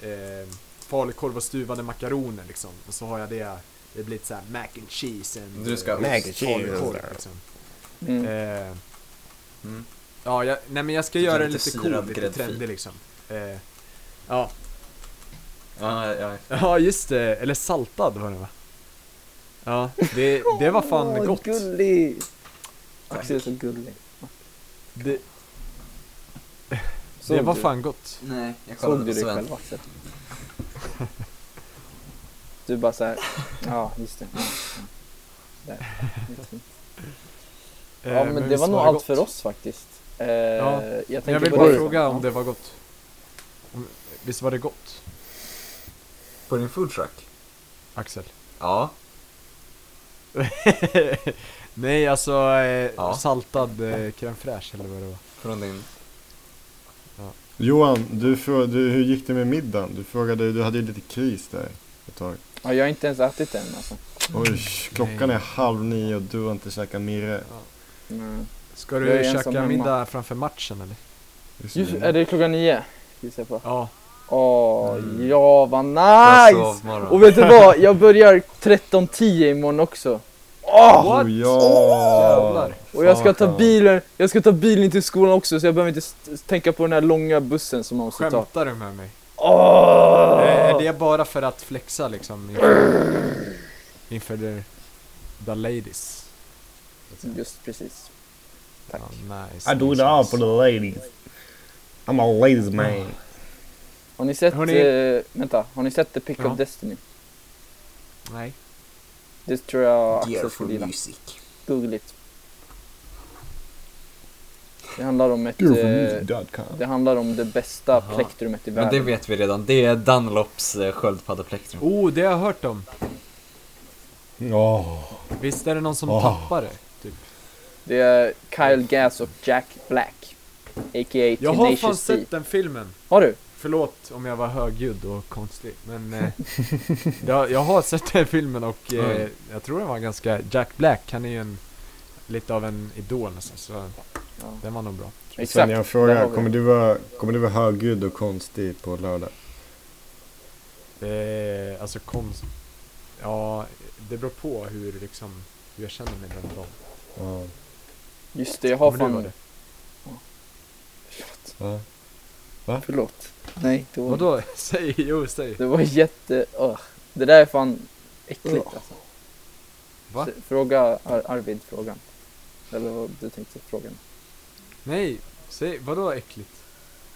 Speaker 1: eh, falukorv och stuvade makaroner liksom. Och så har jag det, det blir lite så här mac and cheese and
Speaker 4: Du ska-
Speaker 1: eh,
Speaker 2: Mac and cheese.
Speaker 1: falukorv, liksom.
Speaker 3: Mm.
Speaker 1: Eh,
Speaker 4: Mm.
Speaker 1: Ja, jag, nej men jag ska
Speaker 3: Typ
Speaker 4: Det är
Speaker 1: göra det
Speaker 4: lite
Speaker 1: lite
Speaker 4: syrad
Speaker 1: cool, lite
Speaker 4: gräddfil.
Speaker 1: trendig liksom. Eh, ja. *laughs*
Speaker 4: Ja, ja.
Speaker 1: ja, just det. Eller saltad var det va? Ja, det, det var fan
Speaker 3: Åh,
Speaker 1: gott.
Speaker 3: gullig! Axel är så gullig.
Speaker 1: Det,
Speaker 3: Såg
Speaker 1: det var
Speaker 3: du-
Speaker 1: fan gott.
Speaker 4: Nej, jag kollade på
Speaker 3: Såg du dig
Speaker 4: Sven.
Speaker 3: själv Axel? Du bara såhär, ja just det. Ja, ja. Där.
Speaker 1: Eh,
Speaker 3: Ja men det
Speaker 1: visst
Speaker 3: var nog
Speaker 1: det
Speaker 3: allt
Speaker 1: gott.
Speaker 3: för oss faktiskt. Eh,
Speaker 1: Ja,
Speaker 3: jag,
Speaker 1: Men Jag
Speaker 3: tänker
Speaker 1: vill
Speaker 3: på
Speaker 1: bara
Speaker 3: dig.
Speaker 1: fråga om
Speaker 3: Ja.
Speaker 1: det var gott. Om, visst var det gott,
Speaker 4: På din foodtruck?
Speaker 1: Axel? *laughs*
Speaker 4: Ja.
Speaker 1: nej, alltså eh,
Speaker 4: Ja.
Speaker 1: saltad eh, crème fraîche eller vad det var.
Speaker 4: Från din...
Speaker 2: Johan, du frå- du, hur gick det med middagen? Du frågade, du hade ju lite kris där ett tag.
Speaker 3: Ja, jag har inte ens ätit den alltså.
Speaker 2: Oj, klockan är halv nio och du har inte käkat mirre.
Speaker 3: Mm.
Speaker 1: Ska
Speaker 3: Jag
Speaker 1: du
Speaker 3: är ensam
Speaker 1: käka
Speaker 3: hemma.
Speaker 1: middag framför matchen eller?
Speaker 3: Just, är det klockan nio? Ska vi se på.
Speaker 1: Ja.
Speaker 3: Åh,
Speaker 4: Mm.
Speaker 3: ja vad
Speaker 4: Jag
Speaker 3: nice!
Speaker 4: sov morgon.
Speaker 3: Och vet du vad? Jag börjar 13.10 imorgon också.
Speaker 2: Åh
Speaker 1: What?
Speaker 2: Oh, ja!
Speaker 1: Jävlar.
Speaker 3: Och jag ska
Speaker 2: Fan,
Speaker 3: ta
Speaker 2: skönt.
Speaker 3: bilen, jag ska ta bilen till skolan också så jag behöver inte st- tänka på den här långa bussen som man måste ta.
Speaker 1: Skämtar du med mig?
Speaker 3: Åh!
Speaker 1: Eh, Är det bara för att flexa liksom inför, inför the, the ladies?
Speaker 3: Just precis. Tack.
Speaker 1: Ja, nice.
Speaker 2: I do it all for the ladies. I'm a ladies man.
Speaker 3: Har ni sett,
Speaker 1: Hörni.
Speaker 3: eh, vänta, har ni sett The Pick
Speaker 1: Ja.
Speaker 3: of Destiny?
Speaker 1: Nej.
Speaker 3: Det tror jag Axel
Speaker 4: Gearful
Speaker 3: skulle gilla.
Speaker 4: music.
Speaker 3: Googligt. Det handlar om ett, eh,
Speaker 2: Beautifulmusic.com
Speaker 3: det handlar om det bästa
Speaker 4: Jaha.
Speaker 3: plektrumet i
Speaker 4: Men det
Speaker 3: världen.
Speaker 4: vet vi redan, det är Dunlops eh, sköldpaddeplektrum.
Speaker 1: Oh, det har jag hört om.
Speaker 2: Åh,
Speaker 1: Visst är det någon som
Speaker 2: Ah.
Speaker 1: tappar det? Typ.
Speaker 3: Det är Kyle Gass och Jack Black. A.k.a.
Speaker 1: Jag har fan
Speaker 3: Tenacious D.
Speaker 1: sett den filmen.
Speaker 3: Har du?
Speaker 1: Förlåt om jag var högljudd och konstig, men eh, jag, jag har sett den filmen och eh,
Speaker 4: Mm.
Speaker 1: jag tror den var ganska... Jack Black, han är ju en, lite av en idol nästan, så
Speaker 3: Ja.
Speaker 1: den var nog bra.
Speaker 2: Sen
Speaker 3: Exakt.
Speaker 2: jag
Speaker 3: där har
Speaker 2: frågar,
Speaker 3: vi
Speaker 2: kommer
Speaker 3: det.
Speaker 2: du vara, kommer du vara högljudd och konstig på lördag?
Speaker 1: Eh, alltså konst... Ja, det beror på hur liksom, hur jag känner mig den dagen.
Speaker 2: Ja.
Speaker 3: Just det, jag har
Speaker 1: Kommer du vara
Speaker 3: fan...
Speaker 1: det?
Speaker 3: Förlåt.
Speaker 2: Va?
Speaker 3: Förlåt. Nej, det var,
Speaker 1: Vadå? *laughs* Säg, jo säg.
Speaker 3: det var jätte... Ugh. Det där är fan äckligt alltså.
Speaker 1: Va?
Speaker 3: S- Fråga Ar Arvid frågan. Eller vad du tänkte frågan.
Speaker 1: Nej, säg, vadå äckligt?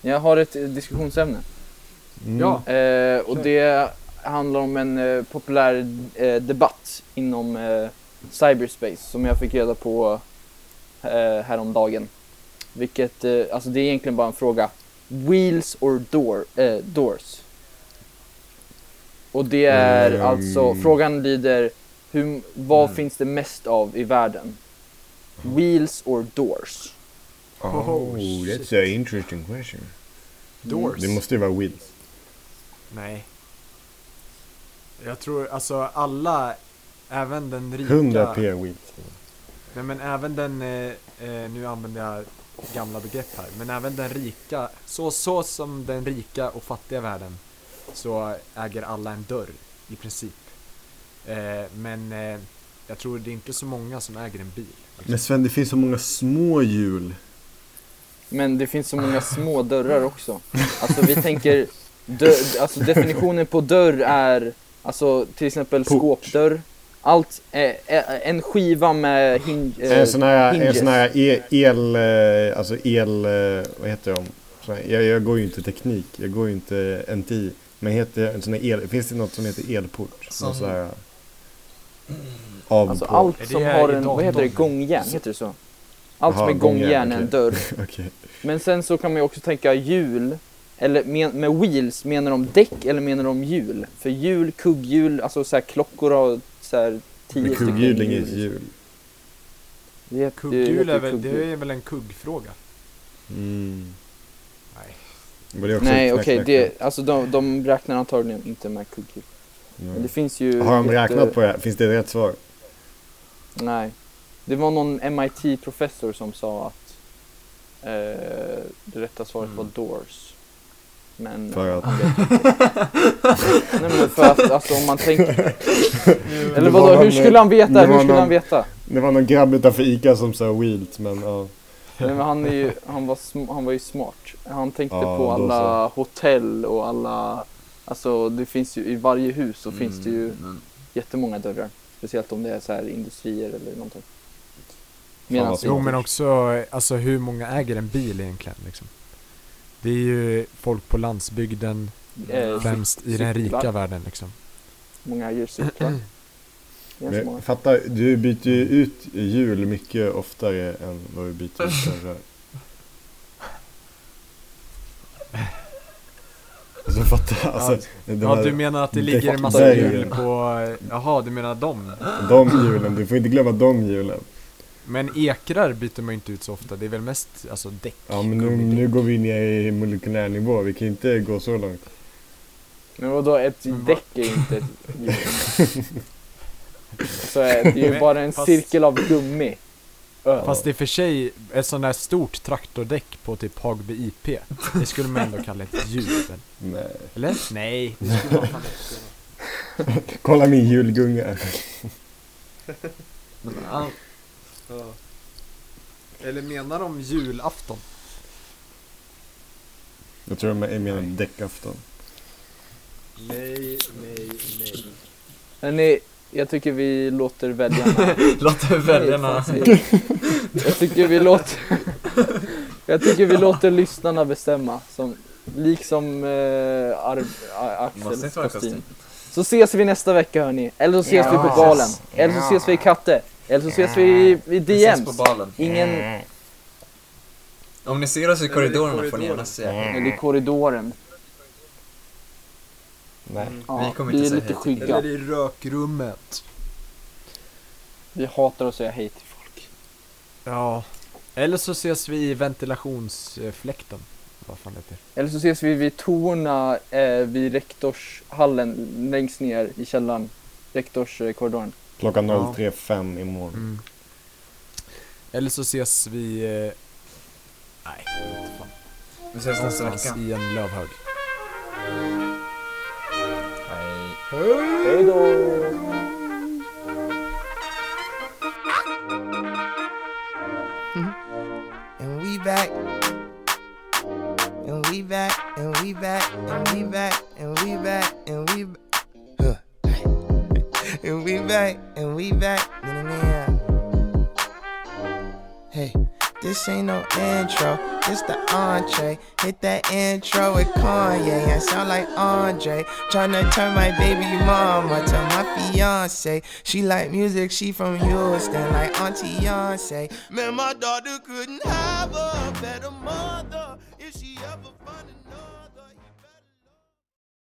Speaker 3: Jag har ett eh, diskussionsämne.
Speaker 2: Mm.
Speaker 4: Ja.
Speaker 3: Eh, och det handlar om en eh, populär eh, debatt inom eh, cyberspace som jag fick reda på eh, häromdagen. Vilket, eh, alltså det är egentligen bara en fråga. Wheels or door, eh, doors? Och det är
Speaker 2: Ehm.
Speaker 3: alltså, frågan lyder, hur, vad
Speaker 4: Mm.
Speaker 3: finns det mest av i världen? Wheels or doors?
Speaker 1: Oh, shit.
Speaker 2: an interesting question.
Speaker 1: Doors?
Speaker 2: Mm, Det måste ju vara wheels.
Speaker 1: Nej. Jag tror alltså alla, även den rika...
Speaker 2: 100 p wheels.
Speaker 1: Nej men även den, eh, eh, nu använder jag gamla begrepp här, men även den rika, så, så som den rika och fattiga världen så äger alla en dörr i princip. Eh, men eh, jag tror det är inte så många som äger en bil. Alltså,
Speaker 2: Men Sven, det finns så många små hjul.
Speaker 3: Men det finns så många små dörrar också. Alltså vi tänker, dö- alltså definitionen på dörr är, alltså till exempel
Speaker 2: Port.
Speaker 3: skåpdörr. Allt, eh, eh, en skiva med hin- eh,
Speaker 2: en sån här, en
Speaker 3: hinges.
Speaker 2: sån här e- el, eh, alltså el, eh, vad heter de? Sån här, jag, jag går ju inte teknik, jag går ju inte NTI. Men heter en sån här el, finns det något som heter elport? Någon
Speaker 4: Som-
Speaker 2: sån här avport?
Speaker 3: Alltså
Speaker 1: Är
Speaker 3: allt som
Speaker 1: det
Speaker 3: har en,
Speaker 1: idag-
Speaker 3: vad heter det,
Speaker 1: datorn?
Speaker 3: gångjärn, heter det så? Allt
Speaker 2: Jaha,
Speaker 3: som är gångjärn
Speaker 2: gångjärn,
Speaker 3: är en
Speaker 2: okej.
Speaker 3: dörr.
Speaker 2: Okej.
Speaker 3: Men sen så kan man ju också tänka hjul, eller men, med wheels, menar de däck eller menar de hjul? För hjul, kugghjul, alltså så här klockor har så här tio
Speaker 2: Men
Speaker 3: stycken
Speaker 2: kugghjul är inget
Speaker 3: hjul. liksom.
Speaker 2: hjul.
Speaker 3: Det heter- det
Speaker 1: Kugghjul
Speaker 3: heter
Speaker 1: är väl,
Speaker 3: kugghjul.
Speaker 1: det är väl en kuggfråga?
Speaker 2: Mm.
Speaker 1: Nej.
Speaker 2: Men det är också
Speaker 3: Nej
Speaker 2: ett
Speaker 3: okej,
Speaker 2: knack, knack,
Speaker 3: det, alltså de, de räknar antagligen inte med kugghjul.
Speaker 2: knack.
Speaker 3: Men det finns ju...
Speaker 2: Mm. Har de
Speaker 3: ett,
Speaker 2: räknat
Speaker 3: eh,
Speaker 2: på det här? Finns det rätt svar?
Speaker 3: Nej. Det var någon MIT-professor som sa att eh, det rätta svaret
Speaker 1: Mm.
Speaker 3: var doors. Men...
Speaker 2: För att...
Speaker 3: Nej men för att alltså om
Speaker 2: *laughs*
Speaker 3: man tänker... Eller
Speaker 2: Det var
Speaker 3: vadå, hur
Speaker 2: någon-
Speaker 3: skulle han
Speaker 2: det
Speaker 3: veta?
Speaker 2: var
Speaker 3: Hur skulle
Speaker 2: någon-
Speaker 3: han veta?
Speaker 2: Det var någon grabb utanför ICA som sa wheels, men ja.
Speaker 3: Nej men han är ju, han var, sm- han var ju smart. Han tänkte
Speaker 2: Ja,
Speaker 3: på
Speaker 2: då
Speaker 3: alla hotell och alla... Alltså det finns ju, i varje hus så finns det ju
Speaker 4: Mm,
Speaker 3: jättemånga dörrar. Speciellt om det är så här industrier eller någonting.
Speaker 2: vad
Speaker 3: Medan
Speaker 2: smart.
Speaker 1: Jo men också, alltså hur många äger en bil egentligen liksom? Det är ju folk på landsbygden,
Speaker 3: eh, cyk-
Speaker 1: främst i den
Speaker 3: cyklar.
Speaker 1: rika världen liksom.
Speaker 3: många äger cyklar. Ganska många.
Speaker 2: Men fatta, du byter ju ut hjul mycket oftare än vad du byter ut dörrar. Alltså fatta, alltså. de
Speaker 1: Ja
Speaker 2: här-
Speaker 1: du menar att det ligger en massa
Speaker 2: däckdörren.
Speaker 1: hjul på, jaha du menar dem?
Speaker 2: De hjulen, du får inte glömma de hjulen.
Speaker 1: Men ekrar byter man ju inte ut så ofta, det är väl mest alltså däck?
Speaker 2: Ja men nu,
Speaker 1: gummidäck.
Speaker 2: nu går vi ner i molekylär nivå, vi kan inte gå så långt.
Speaker 3: Men vadå, ett
Speaker 1: Men vad-
Speaker 3: däck är ju inte ett hjul. Så är det är ju
Speaker 1: Men
Speaker 3: bara en
Speaker 1: fast-
Speaker 3: cirkel av gummi. Ö.
Speaker 1: Fast i och för sig, ett sånt där stort traktordäck på typ Hagby IP, det skulle man ändå kalla ett hjul väl?
Speaker 2: Nej.
Speaker 1: Eller? Nej, det skulle man fan inte.
Speaker 2: Kolla min julgunga.
Speaker 4: men all-
Speaker 1: Eller menar de julafton?
Speaker 2: Jag tror de är- menar däckafton.
Speaker 1: Nej, nej, nej.
Speaker 3: Men ni, jag tycker vi
Speaker 1: *laughs*
Speaker 3: låter väljarna...
Speaker 4: *laughs* Låt väljarna...
Speaker 3: alltså Jag tycker vi låter... Jag tycker vi låter lyssnarna bestämma. Som, liksom eh, Ar- A-
Speaker 4: *laughs* Måste
Speaker 3: Axels
Speaker 4: inte vara kostym.
Speaker 3: kostym. Så ses vi nästa vecka hörni. Eller så ses vi på balen. Eller så ses vi i Katte. Eller så ses vi i, i
Speaker 4: Vi ses på
Speaker 3: DMs.
Speaker 4: balen.
Speaker 3: Ingen...
Speaker 4: Om ni ser oss i
Speaker 1: i
Speaker 4: korridorerna får ni
Speaker 1: korridoren.
Speaker 4: gärna säga.
Speaker 3: Eller i korridoren. Mm.
Speaker 2: Nej.
Speaker 3: Ja,
Speaker 4: Vi kommer
Speaker 3: vi
Speaker 4: inte
Speaker 3: är
Speaker 4: säga
Speaker 3: lite
Speaker 4: hej till
Speaker 3: skygga.
Speaker 1: i rökrummet.
Speaker 3: Vi hatar att säga hej till folk.
Speaker 1: Ja. Eller så ses vi i ventilationsfläkten. Vad fan heter det?
Speaker 3: Eller så ses vi vid toorna eh, vid rektorshallen längst ner i källaren. eh, Rektorskorridoren.
Speaker 2: Klockan
Speaker 1: Ja.
Speaker 2: 03.05 imorgon.
Speaker 1: Mm. Eller så ses vi... Eh, nej, inte fan.
Speaker 4: Vi ses nästa
Speaker 1: Någonstans
Speaker 4: vecka.
Speaker 1: i en lövhög.
Speaker 4: Hej.
Speaker 3: Hej då!
Speaker 7: and we back. And we back, and we back, and we back, and we back, and we b- Huh. *laughs* and we back, and we back. Na-na-na. Hey, This ain't no intro, this the entree. Hit that intro with Kanye. I sound like Andre. Tryna turn my baby mama to my fiance. She like music, she from Houston, like Auntie Yonce. Man, my daughter couldn't have a better mother if she ever found an